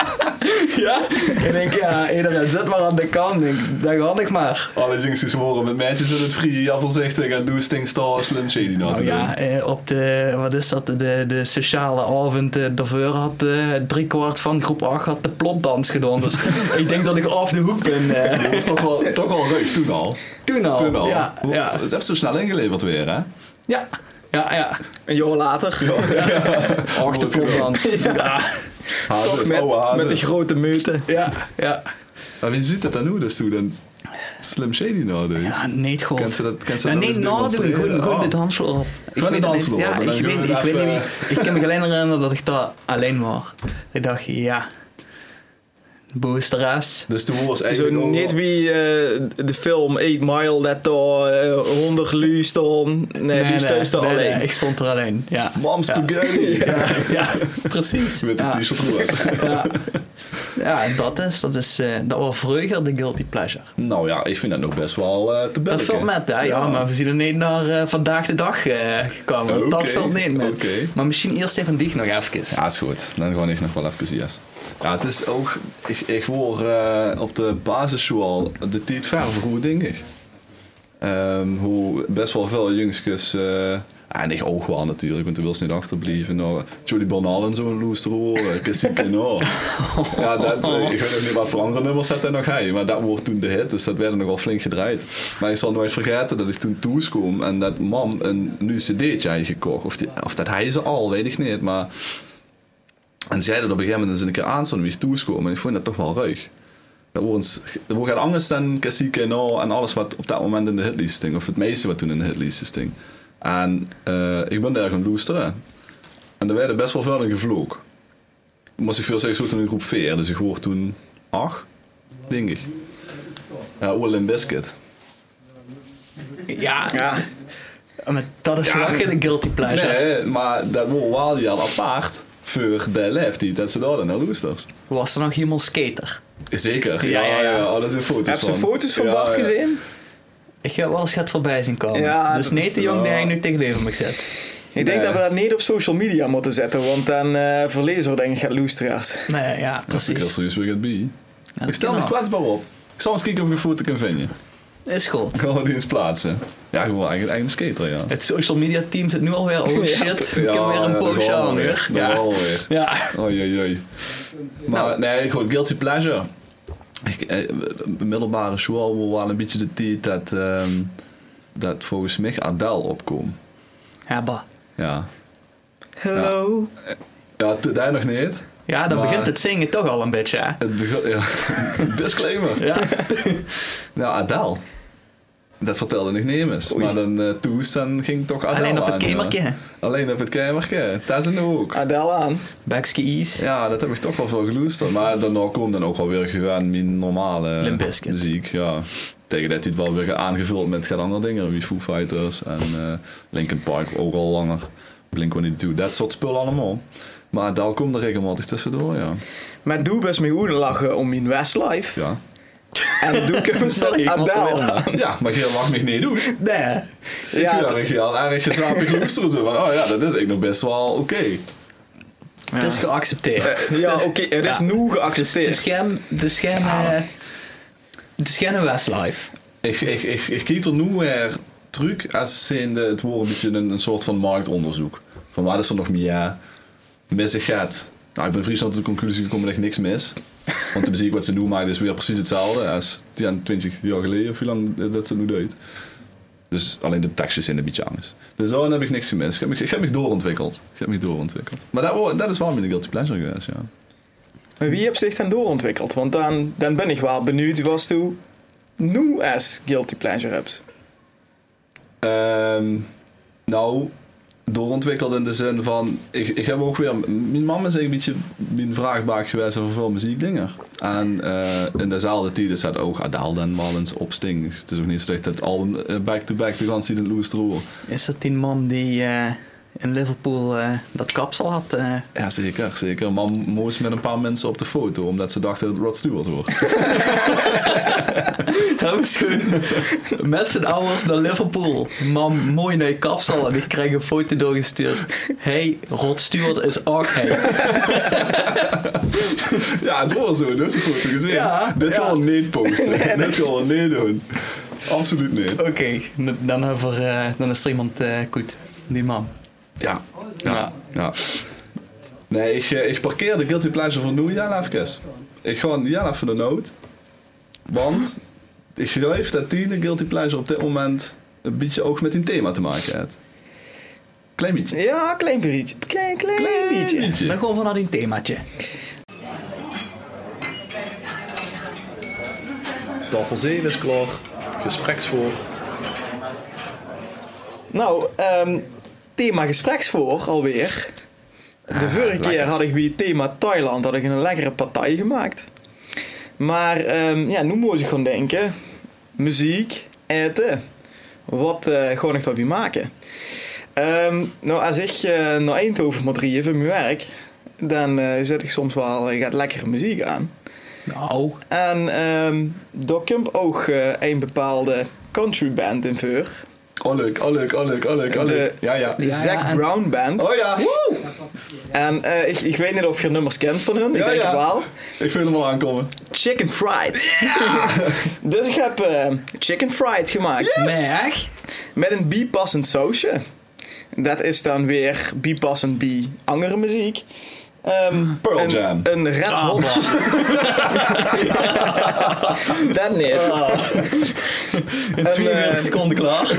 [SPEAKER 2] ja. En ik, ja, iedereen zit maar aan de kant. Ik, dat kan ik maar.
[SPEAKER 1] Alle jongens die zworen met meisjes in het vrije ja, voorzichtig en doe Sting Star Slim Shady nou te
[SPEAKER 2] Nou
[SPEAKER 1] doen.
[SPEAKER 2] ja, eh, op de, wat is dat, de, de sociale avond eh, daarvoor had eh driekwart van groep 8 had de plopdans gedaan.
[SPEAKER 1] <laughs>
[SPEAKER 2] Dus ik denk dat ik af de hoek ben. eh.
[SPEAKER 1] Dat <laughs> was toch wel, toch wel leuk toen al.
[SPEAKER 2] Toen al.
[SPEAKER 1] Toen al.
[SPEAKER 2] Ja,
[SPEAKER 1] Hoe-
[SPEAKER 2] ja,
[SPEAKER 1] Het heeft zo snel ingeleverd weer, hè?
[SPEAKER 2] ja. Ja, ja.
[SPEAKER 3] Een jaar later,
[SPEAKER 2] Och, de plopdans. <laughs> Ja,
[SPEAKER 3] toch
[SPEAKER 1] Hazes, oude
[SPEAKER 3] met,
[SPEAKER 1] hazes.
[SPEAKER 3] met de grote meute.
[SPEAKER 2] ja, ja.
[SPEAKER 1] Maar wie ziet dat dan nu dus toen? dan Slim Shady nou doet?
[SPEAKER 2] Ja, niet goed.
[SPEAKER 1] Kent ze dat- kent ze
[SPEAKER 2] Ja,
[SPEAKER 1] dat
[SPEAKER 2] nee,
[SPEAKER 1] dus
[SPEAKER 2] nadoen.
[SPEAKER 1] demonstreren?
[SPEAKER 2] Gewoon, gewoon
[SPEAKER 1] Oh.
[SPEAKER 2] de dansvloer op.
[SPEAKER 1] de
[SPEAKER 2] weet het
[SPEAKER 1] dansvloer
[SPEAKER 2] niet.
[SPEAKER 1] op,
[SPEAKER 2] Ja,
[SPEAKER 1] en dan
[SPEAKER 2] ik weet,
[SPEAKER 1] kunnen we
[SPEAKER 2] ik
[SPEAKER 1] daar
[SPEAKER 2] weet niet
[SPEAKER 1] even- eh,
[SPEAKER 2] wie- Ik kan me alleen herinneren dat ik daar alleen was. Ik dacht, ja... Boosteres.
[SPEAKER 1] Dus toen was
[SPEAKER 3] Zo
[SPEAKER 1] eigenlijk ook
[SPEAKER 3] niet
[SPEAKER 1] wel-
[SPEAKER 3] wie eh, de film 8 Mile, dat daar eh, 100 luisteren. Nee, nee, nee,
[SPEAKER 2] nee, nee,
[SPEAKER 3] alleen.
[SPEAKER 2] ik stond er alleen, ja.
[SPEAKER 1] Moms
[SPEAKER 2] ja.
[SPEAKER 1] together.
[SPEAKER 2] <laughs> Ja, ja, precies.
[SPEAKER 1] Met
[SPEAKER 2] ja.
[SPEAKER 1] een t-shirt
[SPEAKER 2] <laughs>
[SPEAKER 1] eruit. <laughs>
[SPEAKER 2] Ja. ja, dat is, dat is, eh, dat was vroeger de guilty pleasure.
[SPEAKER 1] Nou ja, ik vind dat nog best wel eh, te bellen.
[SPEAKER 2] Dat valt met, hè? Ja, maar we zien er niet naar eh, vandaag de dag eh, gekomen.
[SPEAKER 1] Oké,
[SPEAKER 2] Dat valt niet met.
[SPEAKER 1] oké.
[SPEAKER 2] Maar misschien eerst even die nog even.
[SPEAKER 1] Ja, is goed. Dan gewoon echt nog wel even yes. Ja, het is ook... Ik, ik word eh, op de basisschool de tijd verven goed, denk ik. Ehm, hoe best wel veel jongstjes... eh, en ik ook wel natuurlijk, want er wil ze niet achterblijven. Nou, Julie Bernal en zo'n loester horen. Christine Pinault. nou. Ja, dat, eh, ik weet ook niet wat voor andere nummers had hij nog hij. Maar dat wordt toen de hit, dus dat werd nogal flink gedraaid. Maar ik zal nooit vergeten dat ik toen thuis kwam en dat mam een nieuw cd'tje had gekocht. Of, die- of dat hij ze al, weet ik niet. Maar... En zij dat op een gegeven moment eens een keer aan toen weer thuis kwam. En ik vond dat toch wel ruig. Dat wordt, dat wordt anders dan Cacique en al en alles wat op dat moment in de hitlijst sting. Of het meeste wat toen in de hitlijst sting. En eh, ik ben daar gaan loesteren. En er werden best wel veel in gevloog moest ik veel zeggen, zo toen in groep 4. Dus ik hoor toen 8, denk ik. Ja, Oil and Biscuit.
[SPEAKER 2] Ja,
[SPEAKER 3] Ja,
[SPEAKER 2] maar dat is wel geen guilty pleasure.
[SPEAKER 1] Nee, maar dat wordt wel die al apart voor de leeftijd dat ze daar dan naar loesters.
[SPEAKER 2] Was er nog iemand skater?
[SPEAKER 1] Zeker.
[SPEAKER 2] Ja,
[SPEAKER 1] Ja,
[SPEAKER 2] ja,
[SPEAKER 1] ja,
[SPEAKER 2] ja.
[SPEAKER 1] Oh, daar zijn foto's
[SPEAKER 3] heb
[SPEAKER 1] van.
[SPEAKER 3] ze foto's van
[SPEAKER 1] Ja,
[SPEAKER 3] Bart
[SPEAKER 1] ja.
[SPEAKER 3] gezien?
[SPEAKER 2] Ik heb wel eens het voorbij zien komen.
[SPEAKER 3] Ja,
[SPEAKER 2] dus
[SPEAKER 3] dat-
[SPEAKER 2] niet de jong die
[SPEAKER 1] ja.
[SPEAKER 2] hij nu tegenover me zit.
[SPEAKER 3] Ik denk
[SPEAKER 1] Nee.
[SPEAKER 3] dat we dat niet op social media moeten zetten, want dan eh verlezen we denk ik gaat luisteraars.
[SPEAKER 2] Nee, ja,
[SPEAKER 1] Dat is de
[SPEAKER 2] precies.
[SPEAKER 1] Christus weer gaat bij.
[SPEAKER 2] Ja, dat
[SPEAKER 1] Ik stel
[SPEAKER 2] kan
[SPEAKER 1] me
[SPEAKER 2] wel.
[SPEAKER 1] kwetsbaar op. Ik zal eens kijken of ik een foto kan vinden.
[SPEAKER 2] Is goed.
[SPEAKER 1] Ik kan die eens plaatsen. Ja, gewoon eigen, eigen skater, ja.
[SPEAKER 2] Het social media team zit nu alweer. <laughs> Oh shit, ik heb weer een poosje aan weer.
[SPEAKER 1] Ja,
[SPEAKER 2] Ja.
[SPEAKER 1] weer.
[SPEAKER 2] ja.
[SPEAKER 1] Oei, oei, oei. Maar nee, goed, guilty pleasure. Ik, eh, de middelbare school wil wel een beetje de tijd dat, ehm, dat volgens mij Adele opkomt.
[SPEAKER 2] Ja, bah.
[SPEAKER 1] Ja.
[SPEAKER 3] Hello.
[SPEAKER 1] Ja, t- daar nog niet.
[SPEAKER 2] Ja, dan
[SPEAKER 1] Maar-
[SPEAKER 2] begint het zingen toch al een beetje, hè?
[SPEAKER 1] Het begon, ja. <laughs> Disclaimer.
[SPEAKER 2] Ja.
[SPEAKER 1] Nou, Adele. Dat vertelde ik Nemes.
[SPEAKER 3] Oei.
[SPEAKER 1] Maar dan eh toest, dan ging toch Adele
[SPEAKER 2] Alleen op het
[SPEAKER 1] aan, ja.
[SPEAKER 2] kemertje. Ah.
[SPEAKER 1] Alleen op het kamertje. Dat is een hoek.
[SPEAKER 3] Adele aan.
[SPEAKER 2] Backski Ease.
[SPEAKER 1] Ja, dat heb ik toch wel veel geloesterd. Maar daarna komt dan ook wel weer gewoon mijn normale
[SPEAKER 2] Limp Bizkit.
[SPEAKER 1] muziek. Ja. Tegen dat hij het wel weer aangevuld met geen andere dingen. Wie Foo Fighters en eh, Linkin Park ook al langer. Blink-182, dat soort spullen allemaal. Maar daar komt er regelmatig tussendoor, ja.
[SPEAKER 3] Met doe best mee hoeden lachen om in Westlife.
[SPEAKER 1] ja.
[SPEAKER 3] En <laughs> doe ik hem met Adele.
[SPEAKER 1] Ja, maar je mag me niet doen.
[SPEAKER 2] Nee.
[SPEAKER 1] Ja,
[SPEAKER 3] Ja,
[SPEAKER 1] dat
[SPEAKER 3] t-
[SPEAKER 1] heb je al erg gezapig loesteren. Zo van, oh ja, dat is ik nog best wel oké.
[SPEAKER 2] Het is geaccepteerd.
[SPEAKER 3] <laughs> ja oké, het is
[SPEAKER 2] Ja.
[SPEAKER 3] nu
[SPEAKER 2] De
[SPEAKER 3] geaccepteerd.
[SPEAKER 2] scherm... De scherm... eh, de scherm Westlife.
[SPEAKER 1] Ik, ik, ik, ik kijk er nu weer truc als zijnde het woord een beetje een, een soort van marktonderzoek. Van waar is er nog meer mis gaat. Nou, ik ben vrij snel tot de conclusie gekomen dat er niks mis. Want dan zie ik wat ze nu maken is weer precies hetzelfde als die aan 20 jaar geleden of hoe lang dat ze nu deed. Dus alleen de tekstjes zijn een beetje anders. Dus dan heb ik niks gemist. Ik heb me, ik heb me doorontwikkeld. Ik heb me doorontwikkeld. Maar dat, wo- dat is wel mijn guilty pleasure geweest, ja.
[SPEAKER 3] Maar wie heeft zich dan doorontwikkeld? Want dan, dan ben ik wel benieuwd was toe nu as guilty pleasure hebt.
[SPEAKER 1] Ehm, nou, doorontwikkeld in de zin van... Ik, ik heb ook weer... Mijn mama is eigenlijk een beetje mijn vraagbaak geweest over veel muziekdingen. En eh, in dezelfde tijd is dat ook Adele dan wel eens op Sting. Dus Het is ook niet slecht dat het album eh, back-to-back de ganse tijd in Loes
[SPEAKER 2] Is dat die man die eh, in Liverpool eh, dat kapsel had? eh?
[SPEAKER 1] Ja, zeker, zeker. Maar moest met een paar mensen op de foto, omdat ze dachten dat het Rod Stewart
[SPEAKER 2] <laughs>
[SPEAKER 1] hoort.
[SPEAKER 2] Dat was goed. Met z'n ouders naar Liverpool. Mam, mooi naar je kapsel. En ik kreeg een foto doorgestuurd. Hey, Rod Stewart is ook hey.
[SPEAKER 1] ja, het hoort zo, dat is een foto gezien.
[SPEAKER 2] Ja,
[SPEAKER 1] Dit
[SPEAKER 2] ja.
[SPEAKER 1] gaan we niet posten. Dit gaan we niet doen. Absoluut niet.
[SPEAKER 2] Oké, dan- dan, hebben we, eh, dan is er iemand eh, goed. Die man.
[SPEAKER 1] Ja.
[SPEAKER 2] Ja.
[SPEAKER 1] Ja. ja. Nee, ik, eh, ik parkeer de Guilty Pleasure voor nu jaar even. Ik ga een jaar even de nood. Want ik geloof dat die de Guilty Pleasure op dit moment een beetje ook met een thema te maken heeft. Klein beetje.
[SPEAKER 3] Ja, klein beetje. Klein, klein, beetje.
[SPEAKER 2] Dan gaan we naar die themaatje.
[SPEAKER 1] Tafel 7 is klaar. Gespreksvoor.
[SPEAKER 3] Nou, ehm, thema gespreksvoor alweer. De vorige keer had ik bij het thema Thailand had ik een lekkere partij gemaakt. Maar ehm, ja, nu moet ik gewoon denken. Muziek, eten. Wat eh gewoon ik daarbij maken? Ehm, nou, als ik eh, naar Eindhoven moet rijden voor mijn werk... dan eh, zet ik soms wel eh, gaat lekkere muziek aan.
[SPEAKER 2] Nou,
[SPEAKER 3] En ehm daar komt ook eh, een bepaalde country band in voor.
[SPEAKER 1] Oh leuk, oh leuk, oh leuk, oh leuk, oh leuk.
[SPEAKER 3] De-
[SPEAKER 1] Ja, ja.
[SPEAKER 3] De
[SPEAKER 2] Ja,
[SPEAKER 3] Zac
[SPEAKER 2] ja, en-
[SPEAKER 3] Brown Band.
[SPEAKER 1] Oh ja, woe!
[SPEAKER 3] En eh, ik, ik weet niet of je nummers kent van hun. Ik
[SPEAKER 1] Ja,
[SPEAKER 3] denk
[SPEAKER 1] ja.
[SPEAKER 3] het wel.
[SPEAKER 1] Ik vind hem al aankomen.
[SPEAKER 3] Chicken Fried. <laughs> dus ik heb eh, Chicken Fried gemaakt.
[SPEAKER 2] Meg.
[SPEAKER 3] Met een bijpassend sausje. Dat is dan weer bijpassend bij andere muziek. Ehm,
[SPEAKER 1] Pearl
[SPEAKER 3] een,
[SPEAKER 1] Jam.
[SPEAKER 3] Een Red
[SPEAKER 2] Ah,
[SPEAKER 3] Hot. <laughs> dat niet.
[SPEAKER 1] Ah,
[SPEAKER 2] In
[SPEAKER 3] 42
[SPEAKER 2] seconden klaar.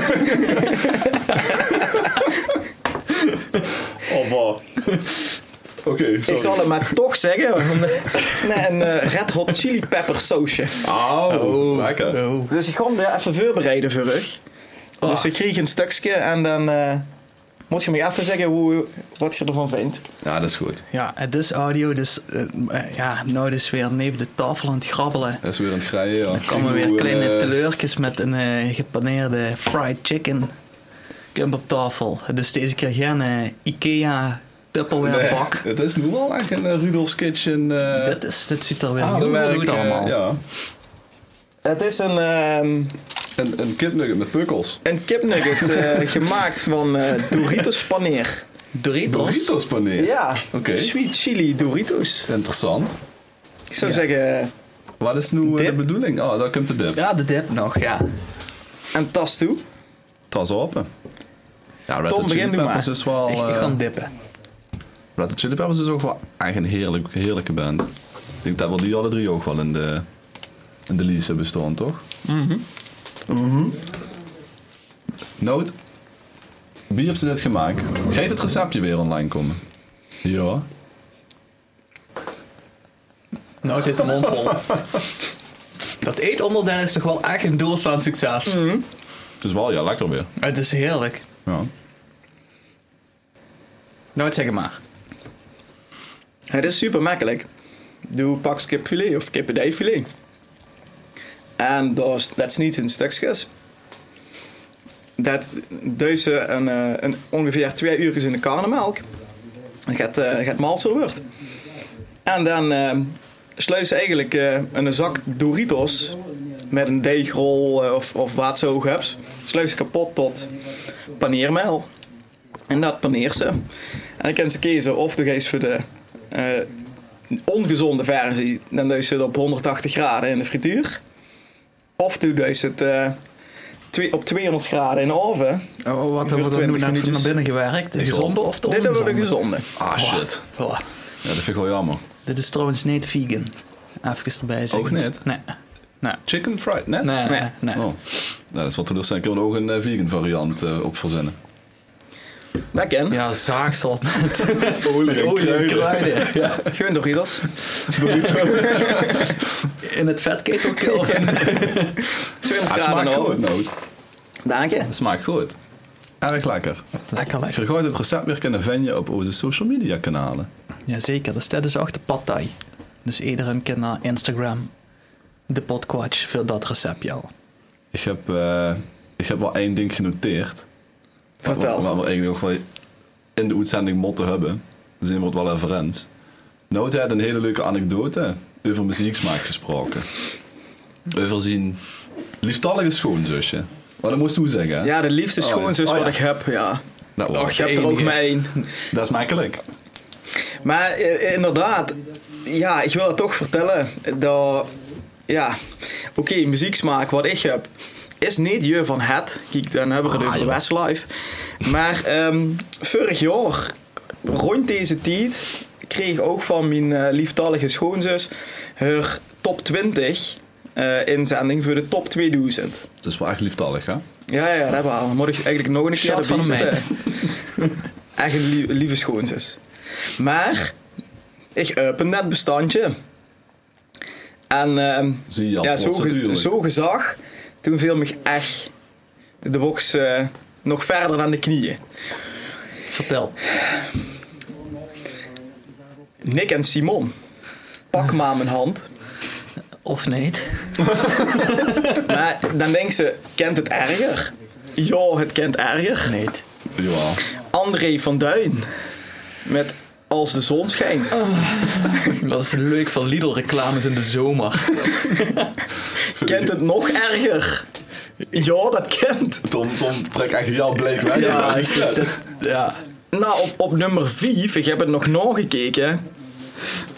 [SPEAKER 1] Oh wow. Oké, sorry.
[SPEAKER 3] Ik zal het maar toch zeggen.
[SPEAKER 1] <laughs>
[SPEAKER 3] want- nee, een eh, Red Hot Chili Pepper sausje.
[SPEAKER 1] Au, lekker.
[SPEAKER 2] Oh.
[SPEAKER 3] Dus ik ga hem weer even voorbereiden voor u.
[SPEAKER 2] Ah.
[SPEAKER 3] Dus we kregen een stukje en dan eh, moet je me even zeggen hoe, wat je ervan vindt.
[SPEAKER 1] Ja, dat is goed.
[SPEAKER 2] Ja, het is audio, dus eh, eh, ja, nou dus weer neven de tafel aan het grabbelen.
[SPEAKER 1] Dat is weer aan het grijden, ja.
[SPEAKER 2] Dan komen weer
[SPEAKER 1] eh.
[SPEAKER 2] kleine teleurtjes met een eh, gepaneerde fried chicken camp op tafel. Dus deze keer geen eh, Ikea Tupperware
[SPEAKER 1] Nee,
[SPEAKER 2] bak.
[SPEAKER 1] Het is nu wel eigenlijk een eh, Rudolf's Kitchen. eh
[SPEAKER 2] Dit, is, dit ziet er weer
[SPEAKER 1] aan de
[SPEAKER 2] heel
[SPEAKER 1] werk,
[SPEAKER 2] goed
[SPEAKER 1] eh,
[SPEAKER 2] allemaal.
[SPEAKER 1] ja.
[SPEAKER 3] Het is een, ehm
[SPEAKER 1] Een, een kipnugget met pukkels.
[SPEAKER 3] een kipnugget <laughs> eh, gemaakt van eh, Doritos paneer.
[SPEAKER 2] Doritos.
[SPEAKER 1] Doritos paneer.
[SPEAKER 3] Ja,
[SPEAKER 1] Oké.
[SPEAKER 3] sweet chili Doritos.
[SPEAKER 1] Interessant.
[SPEAKER 3] Ik zou
[SPEAKER 2] Ja.
[SPEAKER 3] zeggen,
[SPEAKER 1] Wat is nu eh, de
[SPEAKER 3] Dip.
[SPEAKER 1] bedoeling? Oh, daar komt de dip.
[SPEAKER 2] Ja, de dip nog, ja.
[SPEAKER 3] een tas toe.
[SPEAKER 1] Tas open. Ja, Red
[SPEAKER 3] Tom,
[SPEAKER 1] Hot Chili
[SPEAKER 3] begin nu
[SPEAKER 1] Peppers
[SPEAKER 3] maar.
[SPEAKER 1] is wel...
[SPEAKER 2] Ik
[SPEAKER 1] eh,
[SPEAKER 2] ga hem dippen.
[SPEAKER 1] Red Hot Chili Peppers is ook wel echt een heerlijk, heerlijke band. Ik denk dat we die alle drie ook wel in de, in de lease hebben staan, toch? Mhm. Noot. Wie heeft ze dit gemaakt? Geet het receptje weer online komen. Ja.
[SPEAKER 2] Nou, dit de mond vol. <laughs> Dat eetonderdeel is toch wel echt een doelstaand succes.
[SPEAKER 1] Het is wel ja, lekker weer.
[SPEAKER 2] Het is heerlijk.
[SPEAKER 1] Ja.
[SPEAKER 2] Nou, zeg het maar.
[SPEAKER 3] Het is super makkelijk. Doe pak kipfilet of kippendijfilet. En dat is- dat is niet in stukjes. Dat deze een, eh, een ongeveer twee uurtjes in de karnemelk. Het gaat, eh gaat malser wordt. En dan eh, sluis eigenlijk eh, een zak Doritos met een deegrol eh, of, of wat zo ook hebt, sluis kapot tot paneermeel. En dat paneert ze. En dan kan ze kiezen of de geest voor de eh, ongezonde versie, dan doe je ze het op 180 graden in de frituur. Of doe je ze het eh, twee- op 200 graden in de oven.
[SPEAKER 4] Oh, wat hebben we er nu naar
[SPEAKER 3] 24 minuutjes.
[SPEAKER 4] naar binnen gewerkt? De gezonde of de
[SPEAKER 3] Dit
[SPEAKER 4] ongezonde?
[SPEAKER 3] hebben we de gezonde.
[SPEAKER 1] Ah, shit.
[SPEAKER 2] Voilà.
[SPEAKER 1] Ja, dat vind ik wel jammer.
[SPEAKER 2] Dit is trouwens niet vegan. Even erbij zeggen.
[SPEAKER 1] Ook niet?
[SPEAKER 2] Nee.
[SPEAKER 1] Chicken fried, net?
[SPEAKER 2] Nee, nee, nee.
[SPEAKER 1] Oh. Nou, dat is wat teleurstellend. Kunnen we er ook een eh, vegan variant eh, op verzinnen?
[SPEAKER 3] Dat ken.
[SPEAKER 4] Ja, zaagsel.
[SPEAKER 1] Olie
[SPEAKER 4] Olie en kruiden.
[SPEAKER 1] Ja.
[SPEAKER 3] <laughs> Gewoon
[SPEAKER 2] <laughs>
[SPEAKER 3] Doritos. <laughs>
[SPEAKER 2] In het vetketelkill. <laughs> of in-
[SPEAKER 3] 200
[SPEAKER 1] Ah, het Ah,
[SPEAKER 3] graden in
[SPEAKER 1] smaakt
[SPEAKER 3] de
[SPEAKER 1] goed,
[SPEAKER 3] oven.
[SPEAKER 1] Noot.
[SPEAKER 3] Dank je.
[SPEAKER 1] Het smaakt goed. Erg lekker.
[SPEAKER 2] Lekker,
[SPEAKER 1] Als
[SPEAKER 2] lekker.
[SPEAKER 1] je gooit het recept weer kunnen venjen op onze social media kanalen.
[SPEAKER 2] Jazeker, dus dat is achter Pad Thai. Dus iedereen kan naar Instagram de potquatch voor dat receptje al.
[SPEAKER 1] Ik heb, eh, ik heb wel één ding genoteerd.
[SPEAKER 3] Vertel.
[SPEAKER 1] Wat, wat we eigenlijk nog wel in de uitzending moeten hebben. Dan zijn we het wel even eens. Noot had een hele leuke anekdote over muzieksmaak gesproken. Over zijn lieftallige schoonzusje. Maar dat moest hoe zeggen. hè?
[SPEAKER 3] Ja, de liefste
[SPEAKER 1] Oh, ja.
[SPEAKER 3] schoonzus
[SPEAKER 1] Oh,
[SPEAKER 3] wat
[SPEAKER 1] ja. Nou,
[SPEAKER 3] ik heb, ja.
[SPEAKER 1] Dat, was-
[SPEAKER 3] Och, je hebt er ook
[SPEAKER 4] enige.
[SPEAKER 3] maar één.
[SPEAKER 1] dat is makkelijk.
[SPEAKER 3] Maar eh, inderdaad, ja, ik wil dat toch vertellen. Dat, ja, oké, muzieksmaak wat ik heb is niet je van het. Kijk, dan hebben we het over Westlife. Maar ehm, vorig jaar, rond deze tijd, kreeg ik ook van mijn eh, lieftallige schoonzus haar top 20 eh, inzending voor de top 2000.
[SPEAKER 1] Het is wel echt lieftallig, hè?
[SPEAKER 3] Ja, ja, dat wel. Dan moet ik eigenlijk nog een
[SPEAKER 4] Shot
[SPEAKER 3] keer erbij
[SPEAKER 4] van de meid.
[SPEAKER 3] zitten. <laughs> Echt een lieve, lieve schoonzus. Maar, ik up een net bestandje. En ehm,
[SPEAKER 1] Zie je al
[SPEAKER 3] ja,
[SPEAKER 1] ja,
[SPEAKER 3] zo,
[SPEAKER 1] trots
[SPEAKER 3] ge-
[SPEAKER 1] natuurlijk.
[SPEAKER 3] zo gezag, toen viel me echt de box eh, nog verder aan de knieën.
[SPEAKER 4] Vertel.
[SPEAKER 3] Nick en Simon, pak maar mijn hand.
[SPEAKER 2] Of niet?
[SPEAKER 3] Maar dan denkt ze, kent het erger? Ja, het kent erger.
[SPEAKER 2] Nee.
[SPEAKER 1] Jawel.
[SPEAKER 3] André van Duin, met Als de zon schijnt.
[SPEAKER 4] Dat is leuk van Lidl-reclames in de zomer.
[SPEAKER 3] Kent het nog erger? Ja, dat kent.
[SPEAKER 1] Tom, Tom, trek echt jou bleek weg.
[SPEAKER 3] Ja, ik-
[SPEAKER 4] Ja.
[SPEAKER 3] Nou, op, op nummer 5, ik heb het nog nagekeken,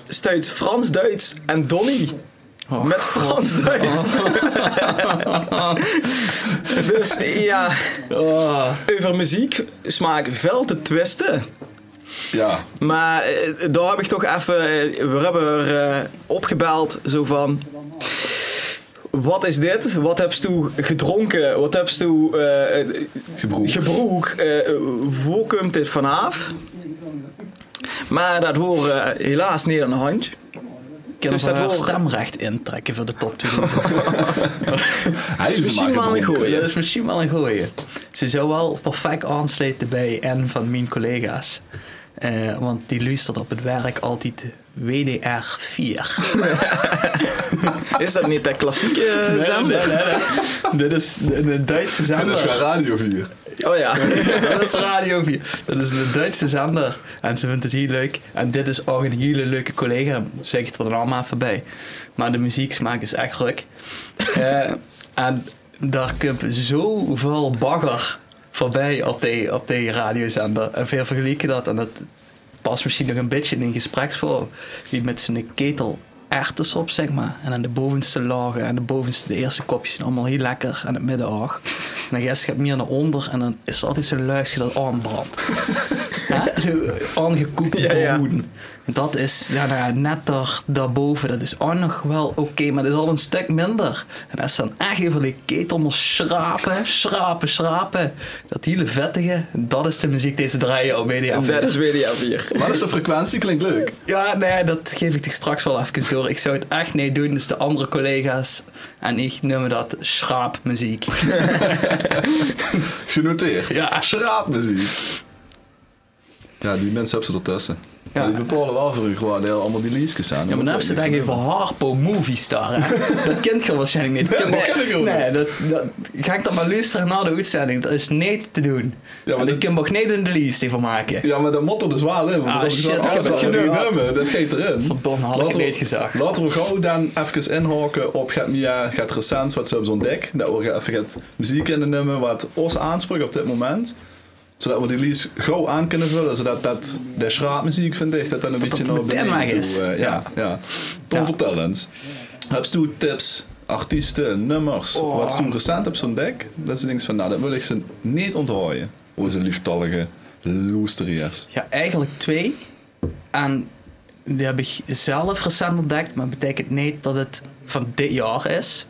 [SPEAKER 3] stuit Frans, Duits en Donny. met Frans, Duits. dus ja,
[SPEAKER 4] Oh,
[SPEAKER 3] over muziek smaak veel te twisten.
[SPEAKER 1] ja.
[SPEAKER 3] Maar eh, daar heb ik toch even. eh, We hebben er eh, opgebeld, zo van. Wat is dit? Wat heb je gedronken? Wat heb je eh,
[SPEAKER 1] Gebroed.
[SPEAKER 3] gebroek? Eh, hoe komt dit vanaf? Maar dat horen eh, helaas niet aan de hand.
[SPEAKER 2] Kunnen
[SPEAKER 3] Dus
[SPEAKER 2] we
[SPEAKER 3] dat
[SPEAKER 2] haar
[SPEAKER 3] horen-
[SPEAKER 2] stemrecht intrekken voor de top 2000?
[SPEAKER 1] Hij is
[SPEAKER 3] misschien
[SPEAKER 1] maken
[SPEAKER 3] wel een
[SPEAKER 1] dronken.
[SPEAKER 3] goeie.
[SPEAKER 2] dat is misschien wel een gooie. Ze zou wel perfect aansluiten bij en van mijn collega's. Eh, want die luistert op het werk altijd WDR4.
[SPEAKER 3] Is dat niet dat klassieke
[SPEAKER 1] <laughs>
[SPEAKER 3] eh, zender?
[SPEAKER 2] Dit is een Duitse
[SPEAKER 1] En dat is
[SPEAKER 2] zender.
[SPEAKER 1] gewoon Radio 4.
[SPEAKER 3] Oh ja.
[SPEAKER 2] <laughs> Dat is Radio 4. Dat is een Duitse zender. En ze vindt het heel leuk. En dit is ook een hele leuke collega. Zeg het er dan maar even bij. Maar de muzieksmaak is echt ruk. Eh, en daar komt zoveel bagger voorbij op die, op die radiozender. En veel vergelijken dat. En dat past misschien nog een beetje in een gespreksvorm. Wie met zijn ketel erwtes op, zeg maar. En aan de bovenste lagen en de bovenste, de eerste kopjes zijn allemaal heel lekker. En het middenaag. En dan gaat het meer naar onder en dan is er altijd zo'n luikje dat aanbrandt.
[SPEAKER 3] <laughs>
[SPEAKER 2] Hè? Zo aangekoekte
[SPEAKER 3] Ja, ja.
[SPEAKER 2] boven. En Dat is ja, nou ja, net daar, daarboven, dat is ook nog wel oké, maar dat is al een stuk minder. En als ze dan echt even die ketel moet schrapen, schrapen, schrapen. Dat hele vettige, dat is de muziek die ze draaien op media.
[SPEAKER 3] <laughs> Dat is WDR 4.
[SPEAKER 1] Maar dat is de frequentie, klinkt leuk.
[SPEAKER 2] Ja, nee, dat geef ik toch straks wel even door. Ik zou het echt niet doen, dus de andere collega's en ik noemen dat schraapmuziek.
[SPEAKER 1] Genoteerd.
[SPEAKER 2] ja, schraap.
[SPEAKER 1] Precies. Ja, die mensen hebben ze ertussen. Ja. Die bepalen wel voor u gewoon heel allemaal die leases aan.
[SPEAKER 2] Ja, maar dan hebben ze het eigenlijk over Harpo Movie Star. hè. dat kent je waarschijnlijk
[SPEAKER 1] <laughs>
[SPEAKER 2] niet.
[SPEAKER 1] dat ken ik ook
[SPEAKER 2] nee, dat, dat, ga ik dan maar luisteren naar de uitzending. Dat is niet te doen.
[SPEAKER 1] Ja, maar
[SPEAKER 2] en ik
[SPEAKER 1] dat-
[SPEAKER 2] kan nog niet in de lease van maken.
[SPEAKER 1] Ja, maar dat moet er dus wel in. want
[SPEAKER 2] Ah,
[SPEAKER 1] dat is
[SPEAKER 2] shit,
[SPEAKER 1] wel
[SPEAKER 2] ik heb
[SPEAKER 1] alles
[SPEAKER 2] het
[SPEAKER 1] wat we nu
[SPEAKER 2] gedaan.
[SPEAKER 1] hebben. Dat geeft erin.
[SPEAKER 2] Verdomme, had ik het
[SPEAKER 1] Laten we-
[SPEAKER 2] niet gezag.
[SPEAKER 1] Laten we gauw dan even inhaken op gaat Mia, gaat recent wat ze hebben ontdekt. Dat we even gaat muziek in de nummer wat ons aanspreekt op dit moment. Zodat we die lease gauw aan kunnen vullen. Zodat dat, de schraapmuziek, vind ik, dat dan een beetje
[SPEAKER 2] dat
[SPEAKER 1] naar
[SPEAKER 2] met
[SPEAKER 1] beneden
[SPEAKER 2] Denmark
[SPEAKER 1] toe...
[SPEAKER 2] is.
[SPEAKER 1] eh, ja, ja. Tom,
[SPEAKER 2] Ja.
[SPEAKER 1] vertel eens. Heb je toen tips, artiesten, nummers,
[SPEAKER 2] Oh.
[SPEAKER 1] wat ze toen recent hebt ontdekt? Dat ze denkt van, nou, dat wil ik ze niet onthouden. Onze lieftallige loesteriers.
[SPEAKER 2] Ja, eigenlijk twee. En die heb ik zelf recent ontdekt, maar betekent niet dat het van dit jaar is.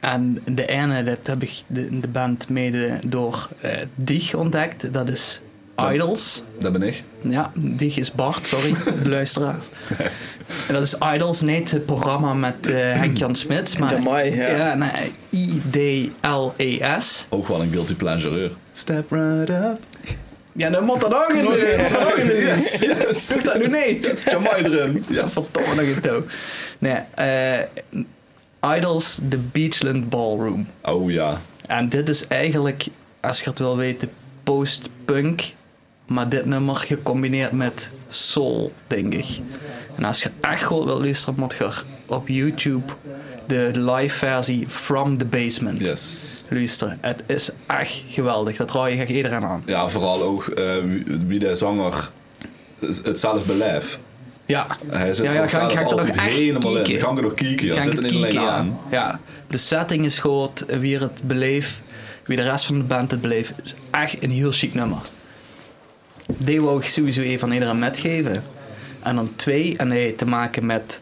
[SPEAKER 2] En de ene, dat heb ik de, de band mede door eh Dieg ontdekt. Dat is
[SPEAKER 1] Ja.
[SPEAKER 2] Idols.
[SPEAKER 1] Dat ben ik.
[SPEAKER 2] Ja, Dieg is Bart, sorry, luisteraars. En dat is Idols, niet het programma met eh, Henk-Jan Smit. Maar,
[SPEAKER 3] Jamai, ja.
[SPEAKER 2] Ja, nee, I-D-L-E-S.
[SPEAKER 1] Ook wel een guilty pleasureur. Step right up.
[SPEAKER 2] Ja, dan moet dat ook in de moet dat ook in de
[SPEAKER 1] Yes, yes.
[SPEAKER 2] Doe dat nu niet.
[SPEAKER 1] Dat is Jamai erin.
[SPEAKER 2] <laughs> Ja,
[SPEAKER 1] Yes.
[SPEAKER 2] verdomme nog een touw. Nee, eh, Idols, The Beachland Ballroom.
[SPEAKER 1] Oh ja.
[SPEAKER 2] En dit is eigenlijk, als je het wil weten, post-punk. Maar dit nummer gecombineerd met soul, denk ik. En als je echt goed wil luisteren, moet je er op YouTube de live versie From the Basement
[SPEAKER 1] Yes.
[SPEAKER 2] luisteren. Het is echt geweldig. Dat raad ik iedereen aan.
[SPEAKER 1] Ja, vooral ook eh, wie- wie de zanger het zelf beleeft.
[SPEAKER 2] Ja.
[SPEAKER 1] Hij zit
[SPEAKER 2] Ja, ja,
[SPEAKER 1] er ook
[SPEAKER 2] ga ik-
[SPEAKER 1] zelf
[SPEAKER 2] ga ik er
[SPEAKER 1] altijd
[SPEAKER 2] ook echt
[SPEAKER 1] helemaal in.
[SPEAKER 2] kieken?
[SPEAKER 1] We gaan er ook kieken. Ja.
[SPEAKER 2] Ga ik
[SPEAKER 1] Zit er
[SPEAKER 2] het
[SPEAKER 1] niet alleen
[SPEAKER 2] kieken, ja.
[SPEAKER 1] aan.
[SPEAKER 2] Ja, de setting is goed. Wie het beleeft, wie de rest van de band het beleeft, is echt een heel chic nummer. Die wou ik sowieso even aan iedereen metgeven. En dan twee, en dat heeft te maken met...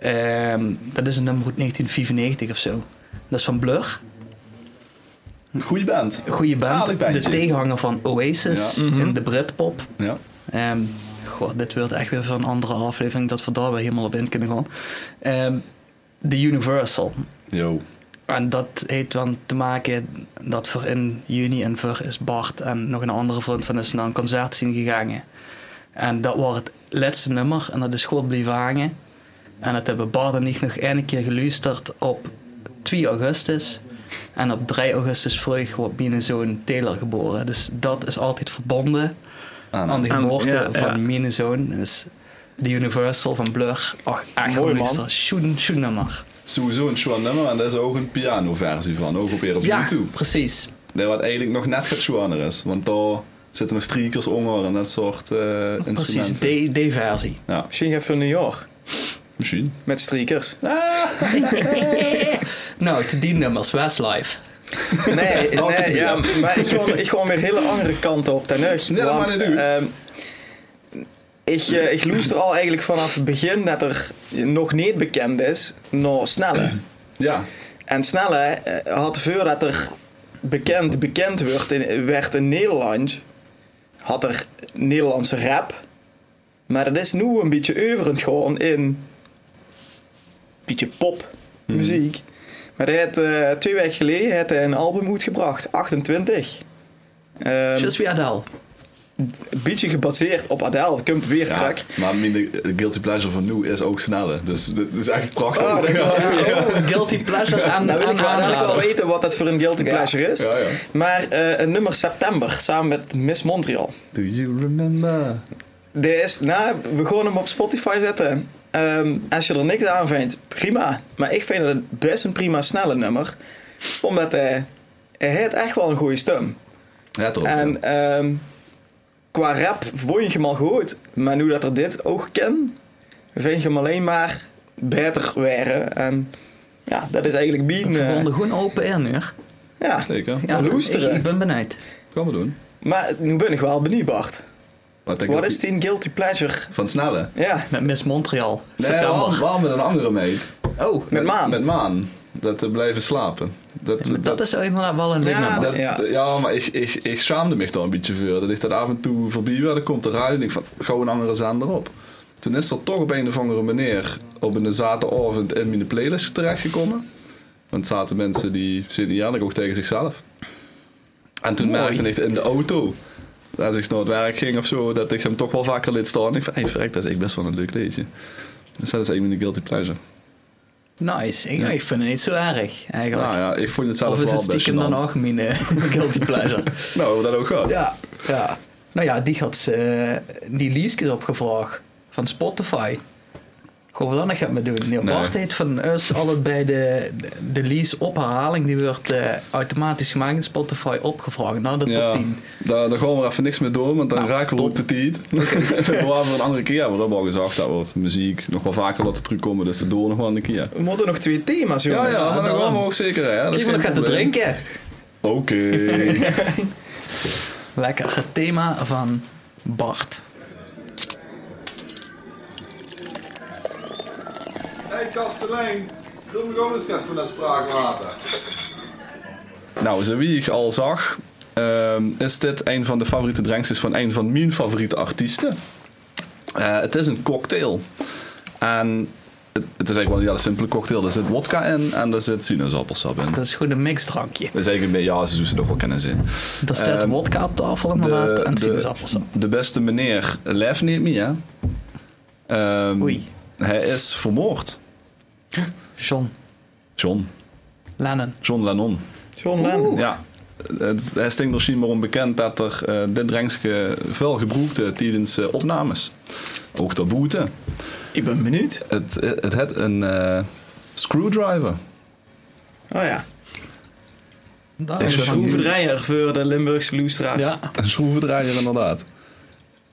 [SPEAKER 2] ehm, dat is een nummer uit 1995 of zo. Dat is van Blur.
[SPEAKER 1] Goeie band.
[SPEAKER 2] Goeie
[SPEAKER 1] Aardig
[SPEAKER 2] band. De
[SPEAKER 1] Ah, bandje.
[SPEAKER 2] tegenhanger van Oasis
[SPEAKER 1] Ja. mhm.
[SPEAKER 2] in de Britpop.
[SPEAKER 1] Ja.
[SPEAKER 2] Ehm goh, dit wordt echt weer voor een andere aflevering dat we daar weer helemaal op in kunnen gaan. Ehm, de Universal.
[SPEAKER 1] Yo.
[SPEAKER 2] En dat heeft dan te maken dat voor in juni en voor is Bart en nog een andere vriend van ons naar een concert zien gegaan. En dat was het laatste nummer en dat is gewoon blijven hangen. En dat hebben Bart en ik nog één keer geluisterd op 2 augustus. En op 3 augustus vroeg wordt mijn zoon Taylor geboren. Dus dat is altijd verbonden
[SPEAKER 1] Aan.
[SPEAKER 2] aan de
[SPEAKER 3] Aan-
[SPEAKER 2] geboorte
[SPEAKER 3] ja,
[SPEAKER 2] van
[SPEAKER 3] ja.
[SPEAKER 2] mijn zoon. Dus de Universal van Blur. Ach, echt
[SPEAKER 3] Mooi,
[SPEAKER 2] een
[SPEAKER 3] man.
[SPEAKER 2] luister. Schoen, schoen nummer.
[SPEAKER 1] Sowieso een Schwan nummer, en daar is ook een pianoversie van. Ook op weer op
[SPEAKER 2] Ja,
[SPEAKER 1] YouTube.
[SPEAKER 2] precies.
[SPEAKER 1] Nee, wat eigenlijk nog net het Schwanner is. Want daar zitten nog streakers onder en dat soort eh,
[SPEAKER 2] Precies,
[SPEAKER 1] instrumenten.
[SPEAKER 2] die, die versie.
[SPEAKER 1] Ja,
[SPEAKER 3] Misschien gaat voor New York.
[SPEAKER 1] misschien.
[SPEAKER 3] Met streakers.
[SPEAKER 2] Nou, te die nummers, Westlife.
[SPEAKER 3] <laughs> Nee, <laughs>
[SPEAKER 1] Elke
[SPEAKER 3] nee
[SPEAKER 1] twee,
[SPEAKER 3] ja,
[SPEAKER 1] ja.
[SPEAKER 3] maar ik ga, ik ga weer hele andere kanten op ten neus.
[SPEAKER 1] Ja, dat
[SPEAKER 3] want,
[SPEAKER 1] mag niet doen.
[SPEAKER 3] ehm, ik, eh, ik loester al eigenlijk vanaf het begin dat er nog niet bekend is naar Snelle.
[SPEAKER 1] Ja,
[SPEAKER 3] En Snelle eh, had voordat er bekend bekend werd in, werd in Nederland, had er Nederlandse rap. Maar het is nu een beetje overend gewoon in beetje popmuziek. Maar hij had, eh, twee weken geleden had hij een album uitgebracht, 28. Ehm,
[SPEAKER 2] Just We Adele.
[SPEAKER 3] een beetje gebaseerd op Adele, Kump weer
[SPEAKER 1] Ja,
[SPEAKER 3] track.
[SPEAKER 1] maar minder de guilty pleasure van nu is ook sneller. Dus dit is echt prachtig.
[SPEAKER 3] Ah, dat is wel-
[SPEAKER 1] ja,
[SPEAKER 2] Oh, Guilty Pleasure aan de
[SPEAKER 3] Nou wil ik wel eigenlijk wel
[SPEAKER 2] aanrader.
[SPEAKER 3] weten wat dat voor een guilty
[SPEAKER 2] Ja.
[SPEAKER 3] pleasure is.
[SPEAKER 1] ja, ja.
[SPEAKER 3] Maar eh, een nummer September, samen met Miss Montreal.
[SPEAKER 1] <laughs> Do you remember?
[SPEAKER 3] Dit is, nou, we gaan hem op Spotify zetten. Ehm, als je er niks aan vindt, prima. Maar ik vind het best een prima snelle nummer. Omdat hij, hij heeft echt wel een goede stem.
[SPEAKER 1] Ja, toch.
[SPEAKER 3] En ehm, qua rap vond je hem al goed. Maar nu dat er dit ook ken, vind je hem alleen maar beter waren. En ja, dat is eigenlijk
[SPEAKER 2] We
[SPEAKER 3] bieden. eh,
[SPEAKER 2] verbonden gewoon open air nu. hè?
[SPEAKER 3] ja.
[SPEAKER 1] Zeker.
[SPEAKER 2] Ja,
[SPEAKER 3] Loesteren.
[SPEAKER 2] ik, ik ben benijd.
[SPEAKER 1] Gaan we doen.
[SPEAKER 3] Maar nu ben ik wel benieuwd, Bart.
[SPEAKER 1] Wat, denk
[SPEAKER 3] Wat
[SPEAKER 1] dat
[SPEAKER 3] is
[SPEAKER 1] die-
[SPEAKER 3] die een guilty pleasure?
[SPEAKER 1] Van snelle.
[SPEAKER 3] Ja,
[SPEAKER 2] Met Miss Montreal.
[SPEAKER 1] Nee, waarom,
[SPEAKER 2] September.
[SPEAKER 1] waarom met een andere meet?
[SPEAKER 2] Oh,
[SPEAKER 3] met Maan.
[SPEAKER 1] eh, Met Maan. Dat te blijven slapen. Dat,
[SPEAKER 2] maar dat is inderdaad wel een leuk
[SPEAKER 3] Ja,
[SPEAKER 2] nummer.
[SPEAKER 1] dat- ja.
[SPEAKER 3] Ja.
[SPEAKER 1] maar ik, ik, ik schaamde me daar een beetje voor. Dat ik dat af en toe voorbij werd. Dan komt de radio en ik van, gewoon een andere zender op. Toen is er toch op een of andere manier op een zaterdagavond in mijn playlist terechtgekomen. Want er zaten mensen die zitten jaarlijk ook tegen zichzelf. En toen
[SPEAKER 2] Mooi.
[SPEAKER 1] merkte ik in de auto. als ik naar het werk ging of zo, dat ik hem toch wel vaker liet staan. Ik van, hey, verrek, dat is echt best wel een leuk liedje. Dus dat is eigenlijk mijn guilty pleasure.
[SPEAKER 2] Nice. Ik,
[SPEAKER 1] Ja.
[SPEAKER 2] ik vind het niet zo erg, eigenlijk.
[SPEAKER 1] Nou ja, ik vond het zelf
[SPEAKER 2] of is
[SPEAKER 1] wel
[SPEAKER 2] het
[SPEAKER 1] best
[SPEAKER 2] stiekem dan
[SPEAKER 1] gênant.
[SPEAKER 2] ook mijn eh, <laughs> guilty pleasure?
[SPEAKER 1] Nou, hoe dat ook gaat.
[SPEAKER 2] ja, ja. Nou ja, die had ze, eh, die Lieske is opgevraagd van Spotify. Gewoon wat dan gaat me doen. Nee,
[SPEAKER 1] Nee.
[SPEAKER 2] Bart heeft van us altijd bij de, de lease opherhaling, die wordt eh, automatisch gemaakt in Spotify opgevraagd nou, naar de top
[SPEAKER 1] Ja,
[SPEAKER 2] 10.
[SPEAKER 1] daar, daar gaan we even niks mee door, want dan
[SPEAKER 2] Nou,
[SPEAKER 1] raken we
[SPEAKER 2] top.
[SPEAKER 1] op de
[SPEAKER 2] <laughs>
[SPEAKER 1] tijd. <laughs> we waren een andere keer, we hebben al gezegd dat we muziek nog wel vaker laten terugkomen, dus dat doen we nog wel een keer.
[SPEAKER 3] We moeten nog twee thema's,
[SPEAKER 1] Ja,
[SPEAKER 3] jongens.
[SPEAKER 1] ja, maar dan
[SPEAKER 2] daarom.
[SPEAKER 1] gaan we ook zeker. Hè? Dat is
[SPEAKER 2] Kijk, we
[SPEAKER 1] geen
[SPEAKER 2] gaan te
[SPEAKER 1] probleem.
[SPEAKER 2] drinken.
[SPEAKER 1] Oké.
[SPEAKER 2] Lekker. Het thema van Bart.
[SPEAKER 1] hey Kastelein, doe me gewoon eens van dat spraakwater. Nou, zoals wie ik al zag, ehm, is dit een van de favoriete drankjes van een van mijn favoriete artiesten. Eh, het is een cocktail. En het, het is eigenlijk wel een hele simpele cocktail. Er zit wodka in en er zit sinaasappelsap in.
[SPEAKER 2] Dat is gewoon een mixdrankje.
[SPEAKER 1] Dat is eigenlijk een beetje, ja, ze doen ze toch wel kennis in.
[SPEAKER 2] Er staat
[SPEAKER 1] Ehm,
[SPEAKER 2] wodka op tafel inderdaad en sinaasappelsap.
[SPEAKER 1] de beste meneer Lef neemt me, hè? Ehm,
[SPEAKER 2] Oei.
[SPEAKER 1] Hij is vermoord.
[SPEAKER 2] John
[SPEAKER 1] John.
[SPEAKER 2] Lennon.
[SPEAKER 1] John Lennon.
[SPEAKER 3] John Lennon.
[SPEAKER 1] Ja. Het, hij stinkt nog maar onbekend dat er eh, dit drankje veel gebruikte tijdens eh, opnames. Ook ter boete.
[SPEAKER 3] Ik ben benieuwd.
[SPEAKER 1] Het, het had een eh, screwdriver.
[SPEAKER 3] Oh ja.
[SPEAKER 2] Dat
[SPEAKER 1] Is
[SPEAKER 3] Een
[SPEAKER 1] dat schroeven-
[SPEAKER 2] van-
[SPEAKER 3] schroevendraaier voor de Limburgse Loestra's.
[SPEAKER 2] Ja.
[SPEAKER 1] Een schroevendraaier inderdaad.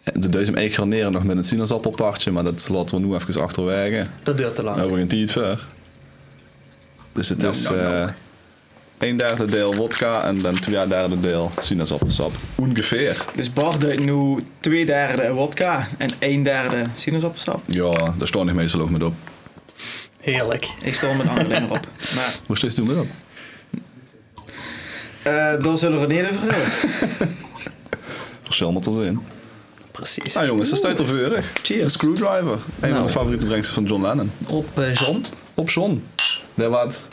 [SPEAKER 1] En De deus hem eigenlijk garneren nog met een sinaasappelpartje, maar dat laten we nu even achterwege.
[SPEAKER 2] Dat duurt te lang.
[SPEAKER 1] Nou, we gaan het ver. Dus het
[SPEAKER 2] Nou,
[SPEAKER 1] is
[SPEAKER 2] nou, nou.
[SPEAKER 1] eh een derde deel wodka en dan twee derde deel sinaasappelsap. Ongeveer.
[SPEAKER 3] Dus Bart duidt nu twee derde wodka en één derde sinaasappelsap.
[SPEAKER 1] Ja, daar staan ik meestal ook met op.
[SPEAKER 2] Heerlijk.
[SPEAKER 3] Ik stel met Angelin <laughs> erop. Maar
[SPEAKER 1] Hoe steeds doen we dat?
[SPEAKER 3] eh daar zullen we het niet over hebben.
[SPEAKER 1] Verschil moet er zijn.
[SPEAKER 2] Precies.
[SPEAKER 1] Nou jongens, dat staat er vurig. Een
[SPEAKER 3] <laughs> Cheers.
[SPEAKER 1] screwdriver. Een van
[SPEAKER 2] Nou.
[SPEAKER 1] de favoriete drankjes van John Lennon.
[SPEAKER 2] Op eh, John.
[SPEAKER 1] Op John. Dat wat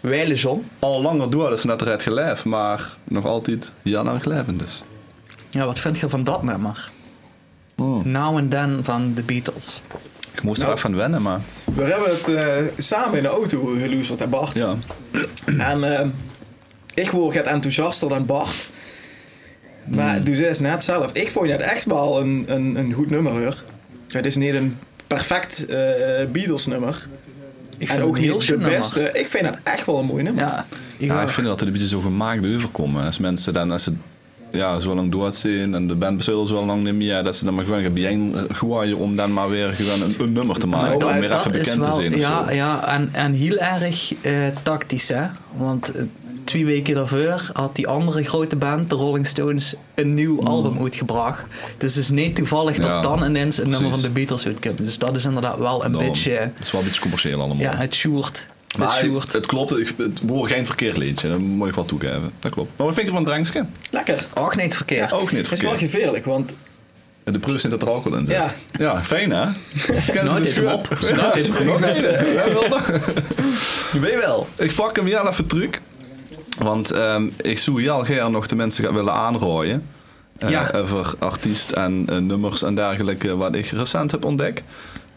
[SPEAKER 2] Weile John.
[SPEAKER 1] al langer door is net het gelijf, maar nog altijd Jan Glijven dus.
[SPEAKER 2] Ja, wat vind je van dat nummer? Now and Then van The Beatles.
[SPEAKER 1] Ik moest er
[SPEAKER 3] Nou.
[SPEAKER 1] even aan wennen, maar
[SPEAKER 3] We hebben het eh, samen in de auto geluisterd, hè Bart.
[SPEAKER 1] ja.
[SPEAKER 3] En eh, ik word het enthousiaster dan Bart. Maar doe ze eens net zelf. Ik vond het echt wel een, een, een goed nummer hoor. Het is niet een perfect eh Beatles nummer.
[SPEAKER 2] Ik
[SPEAKER 3] en ook
[SPEAKER 2] het een
[SPEAKER 3] niet de
[SPEAKER 2] schön nummer.
[SPEAKER 3] beste. Ik vind het echt wel een mooi nummer.
[SPEAKER 2] Ja, ik
[SPEAKER 1] Ja,
[SPEAKER 2] ook.
[SPEAKER 1] ik vind dat het een beetje zo gemaakt overkomt. Als mensen dan, als ze ja, zo lang dood zijn en de band bestaat zo lang niet meer, dat ze dan maar gewoon gaan bijeengooien om dan maar weer gewoon een, een nummer te maken.
[SPEAKER 2] Nou, Maar
[SPEAKER 1] om weer
[SPEAKER 2] dat
[SPEAKER 1] even
[SPEAKER 2] is
[SPEAKER 1] bekend te
[SPEAKER 2] wel-
[SPEAKER 1] zijn of
[SPEAKER 2] ja,
[SPEAKER 1] zo.
[SPEAKER 2] Ja, en, en heel erg eh, tactisch, hè. Want eh, twee weken daarvoor had die andere grote band, de Rolling Stones, een nieuw album uitgebracht. Dus het is niet toevallig
[SPEAKER 1] Mm. Ja,
[SPEAKER 2] dat dan ineens een nummer van
[SPEAKER 1] precies.
[SPEAKER 2] de Beatles uitkomt. Dus dat is inderdaad wel een
[SPEAKER 1] Daarom.
[SPEAKER 2] beetje... eh,
[SPEAKER 1] Het is wel een beetje commercieel allemaal.
[SPEAKER 2] Ja, het sjoerd. Het
[SPEAKER 1] maar
[SPEAKER 2] sjoerd.
[SPEAKER 1] het, het klopt, ik- het wordt geen verkeerd liedje, dat moet ik wel toegeven. Dat klopt. Maar wat vind je van het drankje?
[SPEAKER 3] Lekker.
[SPEAKER 2] Ook niet verkeerd.
[SPEAKER 1] Ook niet
[SPEAKER 3] Het is wel
[SPEAKER 1] verkeerd.
[SPEAKER 3] gevaarlijk, want
[SPEAKER 1] De proef zit dat er alcohol in zit.
[SPEAKER 3] Ja.
[SPEAKER 1] ja fijn
[SPEAKER 3] <laughs>
[SPEAKER 1] hè? Kennen ze
[SPEAKER 2] Nooit
[SPEAKER 1] de
[SPEAKER 2] dit hem
[SPEAKER 1] scheur?
[SPEAKER 2] op.
[SPEAKER 1] <laughs> Ja,
[SPEAKER 2] Nooit dit hem
[SPEAKER 1] nog
[SPEAKER 2] op.
[SPEAKER 1] niet, hè?
[SPEAKER 2] <laughs>
[SPEAKER 1] Ja, wel nog.
[SPEAKER 2] Weet je wel.
[SPEAKER 1] Ik pak hem heel even terug. Want ehm, ik zoek heel graag nog de mensen gaan willen aanrooien. Eh,
[SPEAKER 2] Ja.
[SPEAKER 1] Over artiest en eh, nummers en dergelijke wat ik recent heb ontdekt.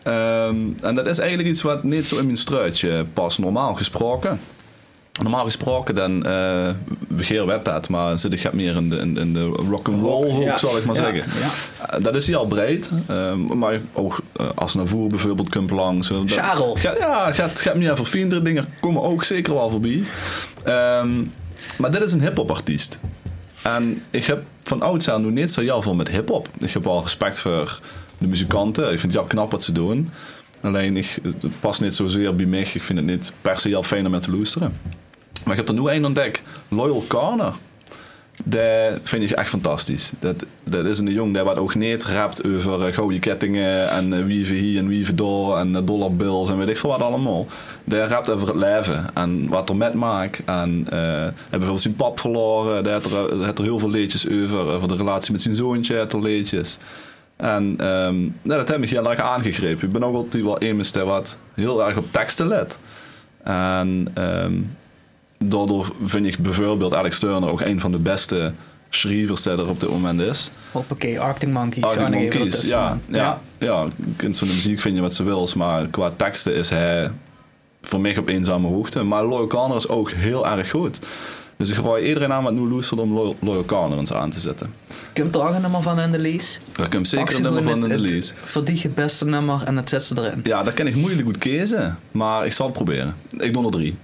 [SPEAKER 1] Ehm, en dat is eigenlijk iets wat niet zo in mijn struitje past, normaal gesproken. Normaal gesproken dan eh begeer web dat, maar dan zit ik gaat meer in de, in, in de rock'n'roll
[SPEAKER 3] Rock,
[SPEAKER 1] hoek,
[SPEAKER 3] ja.
[SPEAKER 1] zal ik maar
[SPEAKER 3] Ja,
[SPEAKER 1] zeggen. Eh, dat is hier al breed, ehm, maar ook eh, als Navour bijvoorbeeld komt langs. eh, dat-
[SPEAKER 2] Charel.
[SPEAKER 1] Ga- ja, gaat, gaat meer verfijndere dingen komen ook zeker wel voorbij. Ehm, maar dit is een hip-hop artiest. En ik heb van oudsher nu niet zo heel veel met hip-hop. Ik heb wel respect voor de muzikanten. Ik vind het heel knap wat ze doen. Alleen ik, het past niet zozeer bij mij. Ik vind het niet per se heel fijn om naar te luisteren. Maar ik heb er nu één ontdekt: Loyal Corner. Dat vind ik echt fantastisch. Dat, dat is een jong die wat ook niet rapt over eh, gouden kettingen en eh, wieven hier en wieven daar en eh, dollarbills en weet ik veel wat allemaal. Die rapt over het leven en wat er met maakt. En eh heeft bijvoorbeeld zijn pap verloren. Daar heeft er, eh, heeft er heel veel leedjes over. Over de relatie met zijn zoontje heeft er leedjes. En ehm, nou, dat heeft me heel erg aangegrepen. Ik ben ook altijd wel iemand die wat heel erg op teksten let. En ehm, daardoor vind ik bijvoorbeeld Alex Turner ook een van de beste schrijvers die er op dit moment is.
[SPEAKER 2] Hoppakee, Arctic Monkeys.
[SPEAKER 1] Arctic
[SPEAKER 2] Oh, nee, wat
[SPEAKER 1] Monkeys,
[SPEAKER 2] is,
[SPEAKER 1] ja,
[SPEAKER 2] man.
[SPEAKER 1] ja, ja. in zo'n muziek vind je wat ze wil, maar qua teksten is hij voor mij op eenzame hoogte. Maar Loyal Corner is ook heel erg goed. Dus ik gooi iedereen aan wat nu luistert om Loyal, Loyal Corner eens aan te zetten.
[SPEAKER 4] Komt er ook een nummer van in de lease?
[SPEAKER 1] Daar kun je zeker een
[SPEAKER 4] Actie
[SPEAKER 1] nummer
[SPEAKER 4] doen
[SPEAKER 1] van in
[SPEAKER 4] het-
[SPEAKER 1] de
[SPEAKER 4] het-
[SPEAKER 1] lease.
[SPEAKER 4] Verdieg het beste nummer en het zet ze
[SPEAKER 1] <laughs>
[SPEAKER 4] erin.
[SPEAKER 1] Ja, dat kan ik moeilijk goed kiezen, maar ik zal het proberen. Ik doe er drie.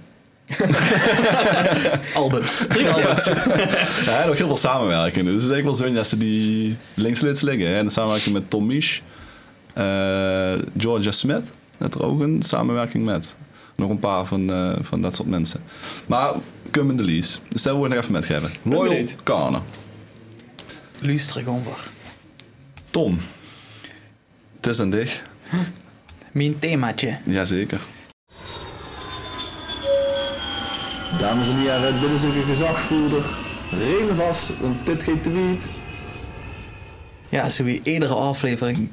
[SPEAKER 4] Albums.
[SPEAKER 1] <laughs>
[SPEAKER 4] Drie albums.
[SPEAKER 1] Ja, hij had ook heel veel samenwerkingen. Dus het is echt wel zo'n dat ze die links-lits liggen. hè. En de samenwerking met Tom Misch, eh, Georgia Smith, dat er ook een samenwerking met. Nog een paar van, eh, van dat soort mensen. Maar Cum in the Lease. Dus daar wil ik nog even met geven. Royal
[SPEAKER 3] benieuwd.
[SPEAKER 1] Kana.
[SPEAKER 4] Luister gewoon voor.
[SPEAKER 1] Tom. Het is aan dich.
[SPEAKER 2] Mijn themaatje.
[SPEAKER 1] Jazeker.
[SPEAKER 5] Dames en heren, dit is een gezagvoerder. Reden vast, want dit geeft de wiet.
[SPEAKER 2] Ja, als we iedere aflevering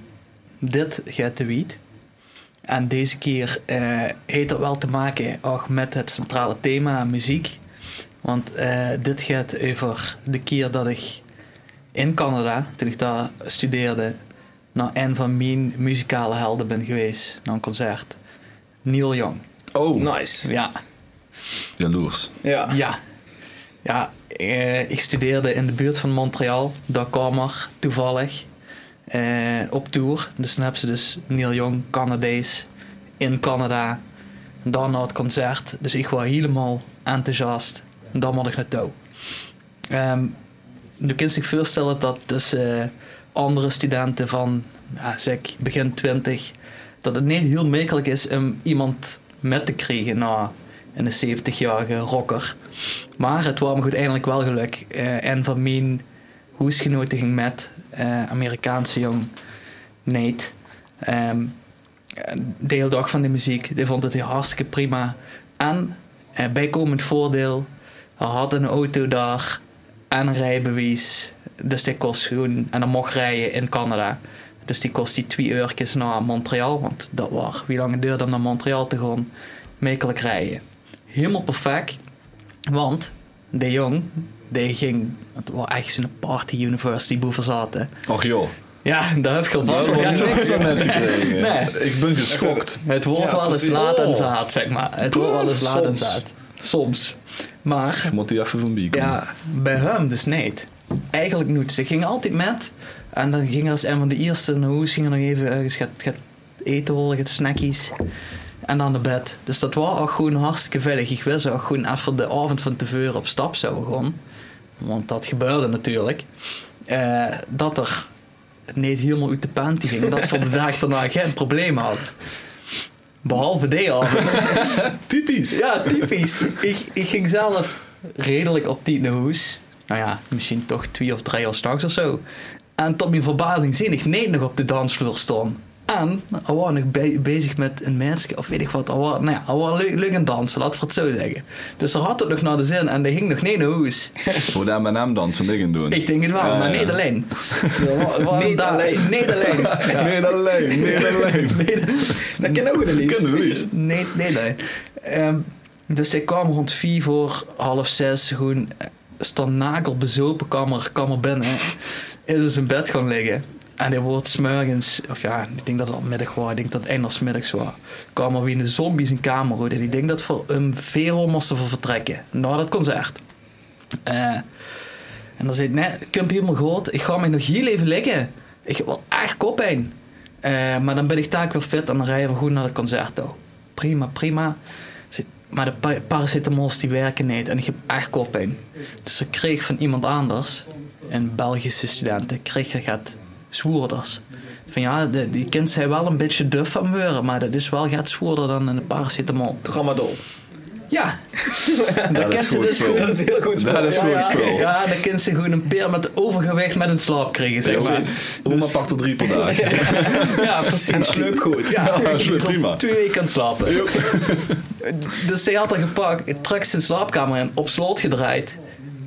[SPEAKER 2] dit gaat de wiet. En deze keer eh, heeft dat wel te maken ook met het centrale thema muziek. Want eh, dit gaat over de keer dat ik in Canada, toen ik daar studeerde, naar een van mijn muzikale helden ben geweest, naar een concert. Neil Young.
[SPEAKER 1] Oh,
[SPEAKER 3] Nice.
[SPEAKER 2] Ja,
[SPEAKER 1] jaloers.
[SPEAKER 3] Ja.
[SPEAKER 2] ja. Ja, eh, ik studeerde in de buurt van Montreal. Daar kwam er toevallig eh, op tour. Dus dan hebben ze dus Neil Young, Canadees, in Canada. Dan naar het concert. Dus ik was helemaal enthousiast. En dan moet ik naartoe. Ehm nu kun je zich voorstellen dat dus eh, andere studenten van, ja, zeg ik, begin 20, dat het niet heel makkelijk is om iemand met te krijgen na een 70-jarige rocker. Maar het was me goed eindelijk wel geluk. Eh, en van mijn hoesgenoten ging met, eh, Amerikaanse jong Nate. Ehm de hele dag van de muziek, die vond het heel hartstikke prima. En eh, bijkomend voordeel, hij had een auto daar en een rijbewijs. Dus die kost gewoon, en dan mocht rijden in Canada. Dus die kost die twee uurtjes naar Montreal, want dat was wie lang het duurde om naar Montreal te gaan, makkelijk rijden. Helemaal perfect, want de jong, die ging, het was echt zo'n party university boeven zaten.
[SPEAKER 1] Och joh.
[SPEAKER 2] Ja, daar heb ik al vast
[SPEAKER 1] Daar
[SPEAKER 2] wel
[SPEAKER 1] heb ik
[SPEAKER 2] iets
[SPEAKER 1] niks van met gekregen.
[SPEAKER 2] Nee.
[SPEAKER 1] Ik ben geschokt.
[SPEAKER 2] het wordt
[SPEAKER 3] Ja,
[SPEAKER 2] wel eens
[SPEAKER 3] precies.
[SPEAKER 2] laat en
[SPEAKER 3] Oh.
[SPEAKER 2] zaad, zeg maar. Het wordt wel eens laat en
[SPEAKER 1] Soms.
[SPEAKER 2] zaad. Soms. Maar
[SPEAKER 1] Ik moet die even van bier komen.
[SPEAKER 2] ja, bij hem dus niet. Eigenlijk niet. Ze gingen altijd met. En dan ging er als een van de eerste naar huis, ging er nog even ergens gaat, gaat eten holen, gaat snackies. En dan naar bed. Dus dat was ook gewoon hartstikke veilig. Ik wist ook gewoon even de avond van tevoren op stap zou gaan. Want dat gebeurde natuurlijk. eh, dat er niet helemaal uit de panty ging. Dat voor de dag daarna geen probleem had. Behalve die avond.
[SPEAKER 1] Typisch.
[SPEAKER 2] <laughs> Ja, typisch. ik, ik ging zelf redelijk op tijd naar huis. Nou ja, misschien toch twee of drie uur s'nachts of zo. En tot mijn verbazing zie ik nee nog op de dansvloer staan. En hij was nog be- bezig met een meisje, of weet ik wat. Hij was, nou ja, hij was leuk, leuk aan het dansen, laten we het zo zeggen. Dus hij had het nog naar de zin en hij ging nog nee naar huis.
[SPEAKER 1] Hoe daar mijn naam dansen dingen doen. Eh,
[SPEAKER 2] Ik denk het wel,
[SPEAKER 1] Ja,
[SPEAKER 2] maar
[SPEAKER 1] ja.
[SPEAKER 2] niet
[SPEAKER 1] <laughs>
[SPEAKER 2] alleen.
[SPEAKER 3] Niet alleen.
[SPEAKER 2] Niet alleen.
[SPEAKER 1] Nee, alleen.
[SPEAKER 3] <laughs>
[SPEAKER 1] Nee,
[SPEAKER 2] <laughs>
[SPEAKER 1] alleen.
[SPEAKER 2] Nee,
[SPEAKER 3] Dat ken ook een liefst.
[SPEAKER 1] Kunnen we niet.
[SPEAKER 2] Nee, nee, nee. Ehm, dus ik kwam rond vier voor half zes gewoon eh, standnakel bezopen kamer, kamer binnen. Is dus in zijn bed gaan liggen. En hij wordt smorgens, of ja, ik denk dat het al middag was, ik denk dat het eind middags was. Kwam er weer een zombie in zijn kamer uit. En ik denk dat voor hem veel moesten voor vertrekken. Na dat concert. Eh, en dan zei ik, nee, ik heb helemaal gehoord. Ik ga mij nog hier even liggen. Ik heb wel echt koppijn. Eh, maar dan ben ik taak weer fit en dan rijden we goed naar het concert toe. Prima, prima. Zei, Maar de pa- paracetamols die werken niet en ik heb echt koppijn. Dus ik kreeg van iemand anders, een Belgische student, ik kreeg er gaat zwoerders. Van ja, de, die kind zijn wel een beetje duf van weuren, maar dat is wel gaat zwoerder dan een paracetamol.
[SPEAKER 3] Tramadol.
[SPEAKER 1] <laughs>
[SPEAKER 2] Ja,
[SPEAKER 1] Dat
[SPEAKER 2] kent
[SPEAKER 1] is
[SPEAKER 2] ze
[SPEAKER 1] goed
[SPEAKER 2] dus
[SPEAKER 1] spul.
[SPEAKER 3] <laughs> Dat is heel goed spel.
[SPEAKER 1] Dat is
[SPEAKER 3] Ja,
[SPEAKER 1] goed
[SPEAKER 3] ja.
[SPEAKER 1] spul.
[SPEAKER 2] <laughs> ja dan kind ze gewoon een peer met overgewicht met een slaap krijgen, zeg maar.
[SPEAKER 1] Precies. Oma pakt er drie per dag.
[SPEAKER 2] <laughs> Ja, precies.
[SPEAKER 3] En sleep goed.
[SPEAKER 2] Ja,
[SPEAKER 1] Ja,
[SPEAKER 2] die is al
[SPEAKER 1] prima.
[SPEAKER 2] twee weken aan het slapen. <laughs> Dus hij had haar gepakt, trok zijn slaapkamer in, op slot gedraaid.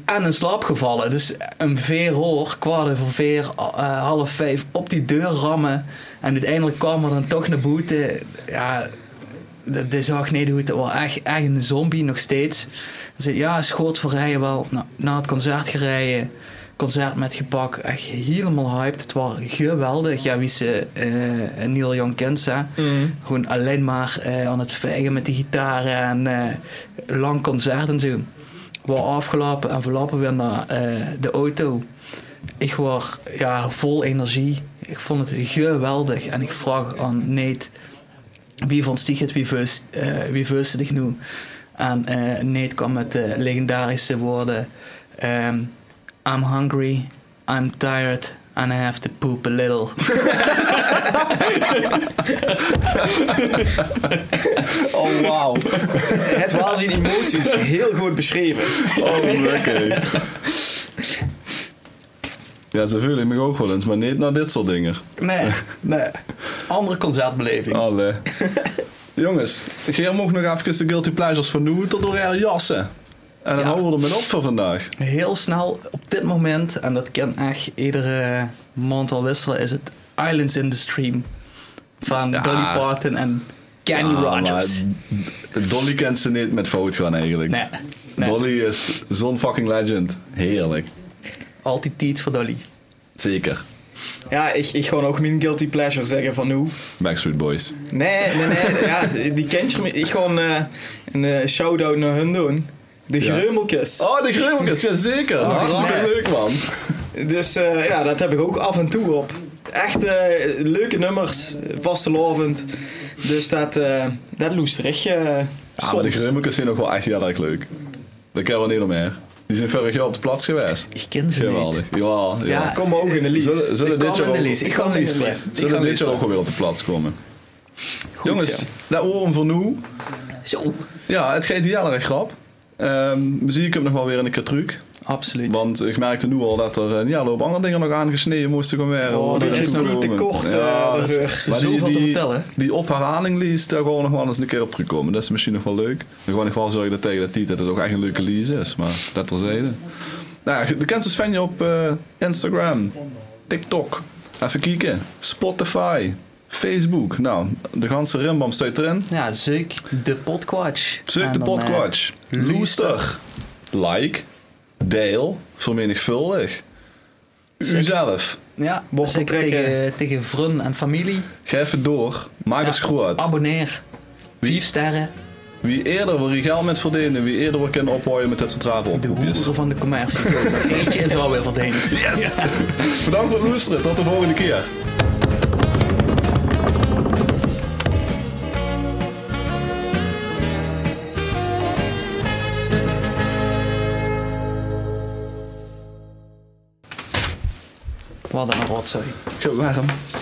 [SPEAKER 2] En in slaap gevallen. Dus een veer hoor, kwart over veer, eh, half vijf, op die deur rammen. En uiteindelijk kwam er dan toch naar boete. Ja, dat is ook niet goed. Dat was echt, echt een zombie nog steeds. Hij zei, ja, schoot voor rijden wel. Nou, na het concert gereden. Concert met gebak, echt helemaal hyped. Het was geweldig. Ja, wie ze eh, Neil Young kent, hè. Gewoon alleen maar eh, aan het vegen met die gitaren en eh, lang concert en zo. Waar afgelopen en verlappen weer naar eh, de auto. Ik was ja, vol energie. Ik vond het geweldig. En ik vraag aan Nate, wie vond die het, wie veus eh, wie veus het genoeg? En eh Nate kwam met de legendarische woorden... ehm, I'm hungry, I'm tired, and I have to poop a little. <laughs>
[SPEAKER 3] Oh, wauw. het was in emoties heel goed beschreven.
[SPEAKER 1] Oh, oké.
[SPEAKER 2] <laughs>
[SPEAKER 1] Ja, ze vullen me ook wel eens, maar niet naar dit soort dingen.
[SPEAKER 2] Nee, nee. Andere
[SPEAKER 1] <laughs>
[SPEAKER 2] concertbeleving.
[SPEAKER 1] Alle. Jongens, Geer mocht nog even de Guilty Pleasures van doen tot door haar jassen. En dan
[SPEAKER 2] Ja.
[SPEAKER 1] houden we er met op voor vandaag.
[SPEAKER 2] Heel snel op dit moment, en dat kan echt iedere maand al wisselen, is het Islands in the Stream van
[SPEAKER 1] Ja.
[SPEAKER 2] Dolly Parton en Kenny
[SPEAKER 1] Ja,
[SPEAKER 2] Rogers.
[SPEAKER 1] maar Dolly kent ze niet met fout gaan eigenlijk.
[SPEAKER 2] Nee, nee.
[SPEAKER 1] Dolly is zo'n fucking legend. Heerlijk.
[SPEAKER 2] altijd tijd voor Dolly.
[SPEAKER 1] Zeker.
[SPEAKER 3] Ja, ik, ik gewoon ook mijn guilty pleasure zeggen van hoe.
[SPEAKER 1] Backstreet Boys.
[SPEAKER 3] Nee, nee, nee. ja, die kent je. Ik gewoon eh, een eh, shout-out naar hun doen. De
[SPEAKER 1] Ja.
[SPEAKER 3] grummeltjes.
[SPEAKER 1] Oh, de Grimmelkes, ja
[SPEAKER 2] Oh,
[SPEAKER 1] zeker. Hartstikke leuk man.
[SPEAKER 3] Dus eh, ja, dat heb ik ook af en toe op. Echt eh, leuke nummers, vastelovend. Dus dat, eh dat loest echt eh
[SPEAKER 1] Ja, Ah, maar de
[SPEAKER 3] soms.
[SPEAKER 1] Grimmelkes zijn nog wel echt heel erg leuk. Dat kan wel niet omheen. Die zijn vorig jaar op de plaats geweest.
[SPEAKER 2] Ik ken ze niet.
[SPEAKER 1] Geweldig. Ja, ja.
[SPEAKER 2] Ja,
[SPEAKER 3] Kom maar ook in de lies.
[SPEAKER 1] Zullen, zullen
[SPEAKER 2] Ik
[SPEAKER 1] dit
[SPEAKER 2] kwam
[SPEAKER 1] jaar
[SPEAKER 2] in de
[SPEAKER 1] ook-
[SPEAKER 2] lease. Ik kwam in de lease. Ik
[SPEAKER 1] zullen
[SPEAKER 2] kwam
[SPEAKER 1] dit jaar
[SPEAKER 2] in
[SPEAKER 1] ook
[SPEAKER 2] de
[SPEAKER 1] alweer op de plaats komen?
[SPEAKER 3] Goed,
[SPEAKER 1] Jongens,
[SPEAKER 3] ja.
[SPEAKER 1] dat oren voor nu.
[SPEAKER 2] lease. Zo,
[SPEAKER 1] Ja, het geeft heel erg grap. Ehm muziek heb nog wel weer een keer truc.
[SPEAKER 2] absoluut.
[SPEAKER 1] Want ik merkte nu al dat er een ja, loop andere dingen nog aangesneden moesten gaan worden.
[SPEAKER 3] Oh,
[SPEAKER 1] om
[SPEAKER 3] dat
[SPEAKER 1] erin
[SPEAKER 3] is
[SPEAKER 1] te
[SPEAKER 3] nog
[SPEAKER 1] komen.
[SPEAKER 3] te kort, eh, de
[SPEAKER 1] dat is-
[SPEAKER 3] rug.
[SPEAKER 1] maar die-
[SPEAKER 2] Zoveel te
[SPEAKER 1] die-
[SPEAKER 2] vertellen.
[SPEAKER 1] Die opherhaling lease, daar gewoon nog wel eens een keer op terugkomen. Dat is misschien nog wel leuk. Dan gewoon nog wel zorgen dat tegen dat die dat het ook echt een leuke lease is. Maar dat terzijde. Nou, ja, de kent dus Svenja op eh, Instagram, TikTok. Even kijken. Spotify, Facebook. Nou, de ganse rimbam staat erin.
[SPEAKER 2] Ja, Zeuk de Potquatch.
[SPEAKER 1] Zoek
[SPEAKER 2] En
[SPEAKER 1] de
[SPEAKER 2] dan, eh,
[SPEAKER 1] podcast. Loester. Like. Deel. Vermenigvuldig. Uzelf.
[SPEAKER 2] Ja,
[SPEAKER 3] Bocht
[SPEAKER 2] zeker
[SPEAKER 3] optrekken.
[SPEAKER 2] tegen, tegen vrienden en familie.
[SPEAKER 1] Geef het door. Maak
[SPEAKER 2] Ja,
[SPEAKER 1] eens groot.
[SPEAKER 2] Abonneer. Vijf sterren.
[SPEAKER 1] Wie eerder wil je geld met verdienen. Wie eerder wil kunnen ophooien met dit soort rare
[SPEAKER 2] De
[SPEAKER 1] oproepjes.
[SPEAKER 2] hoeren van de commercie.
[SPEAKER 1] <laughs>
[SPEAKER 2] Zo, dat Eentje is wel weer verdiend.
[SPEAKER 1] Bedankt voor het luisteren. Tot de volgende keer.
[SPEAKER 2] Wat een rotzooi.
[SPEAKER 1] Zo warm.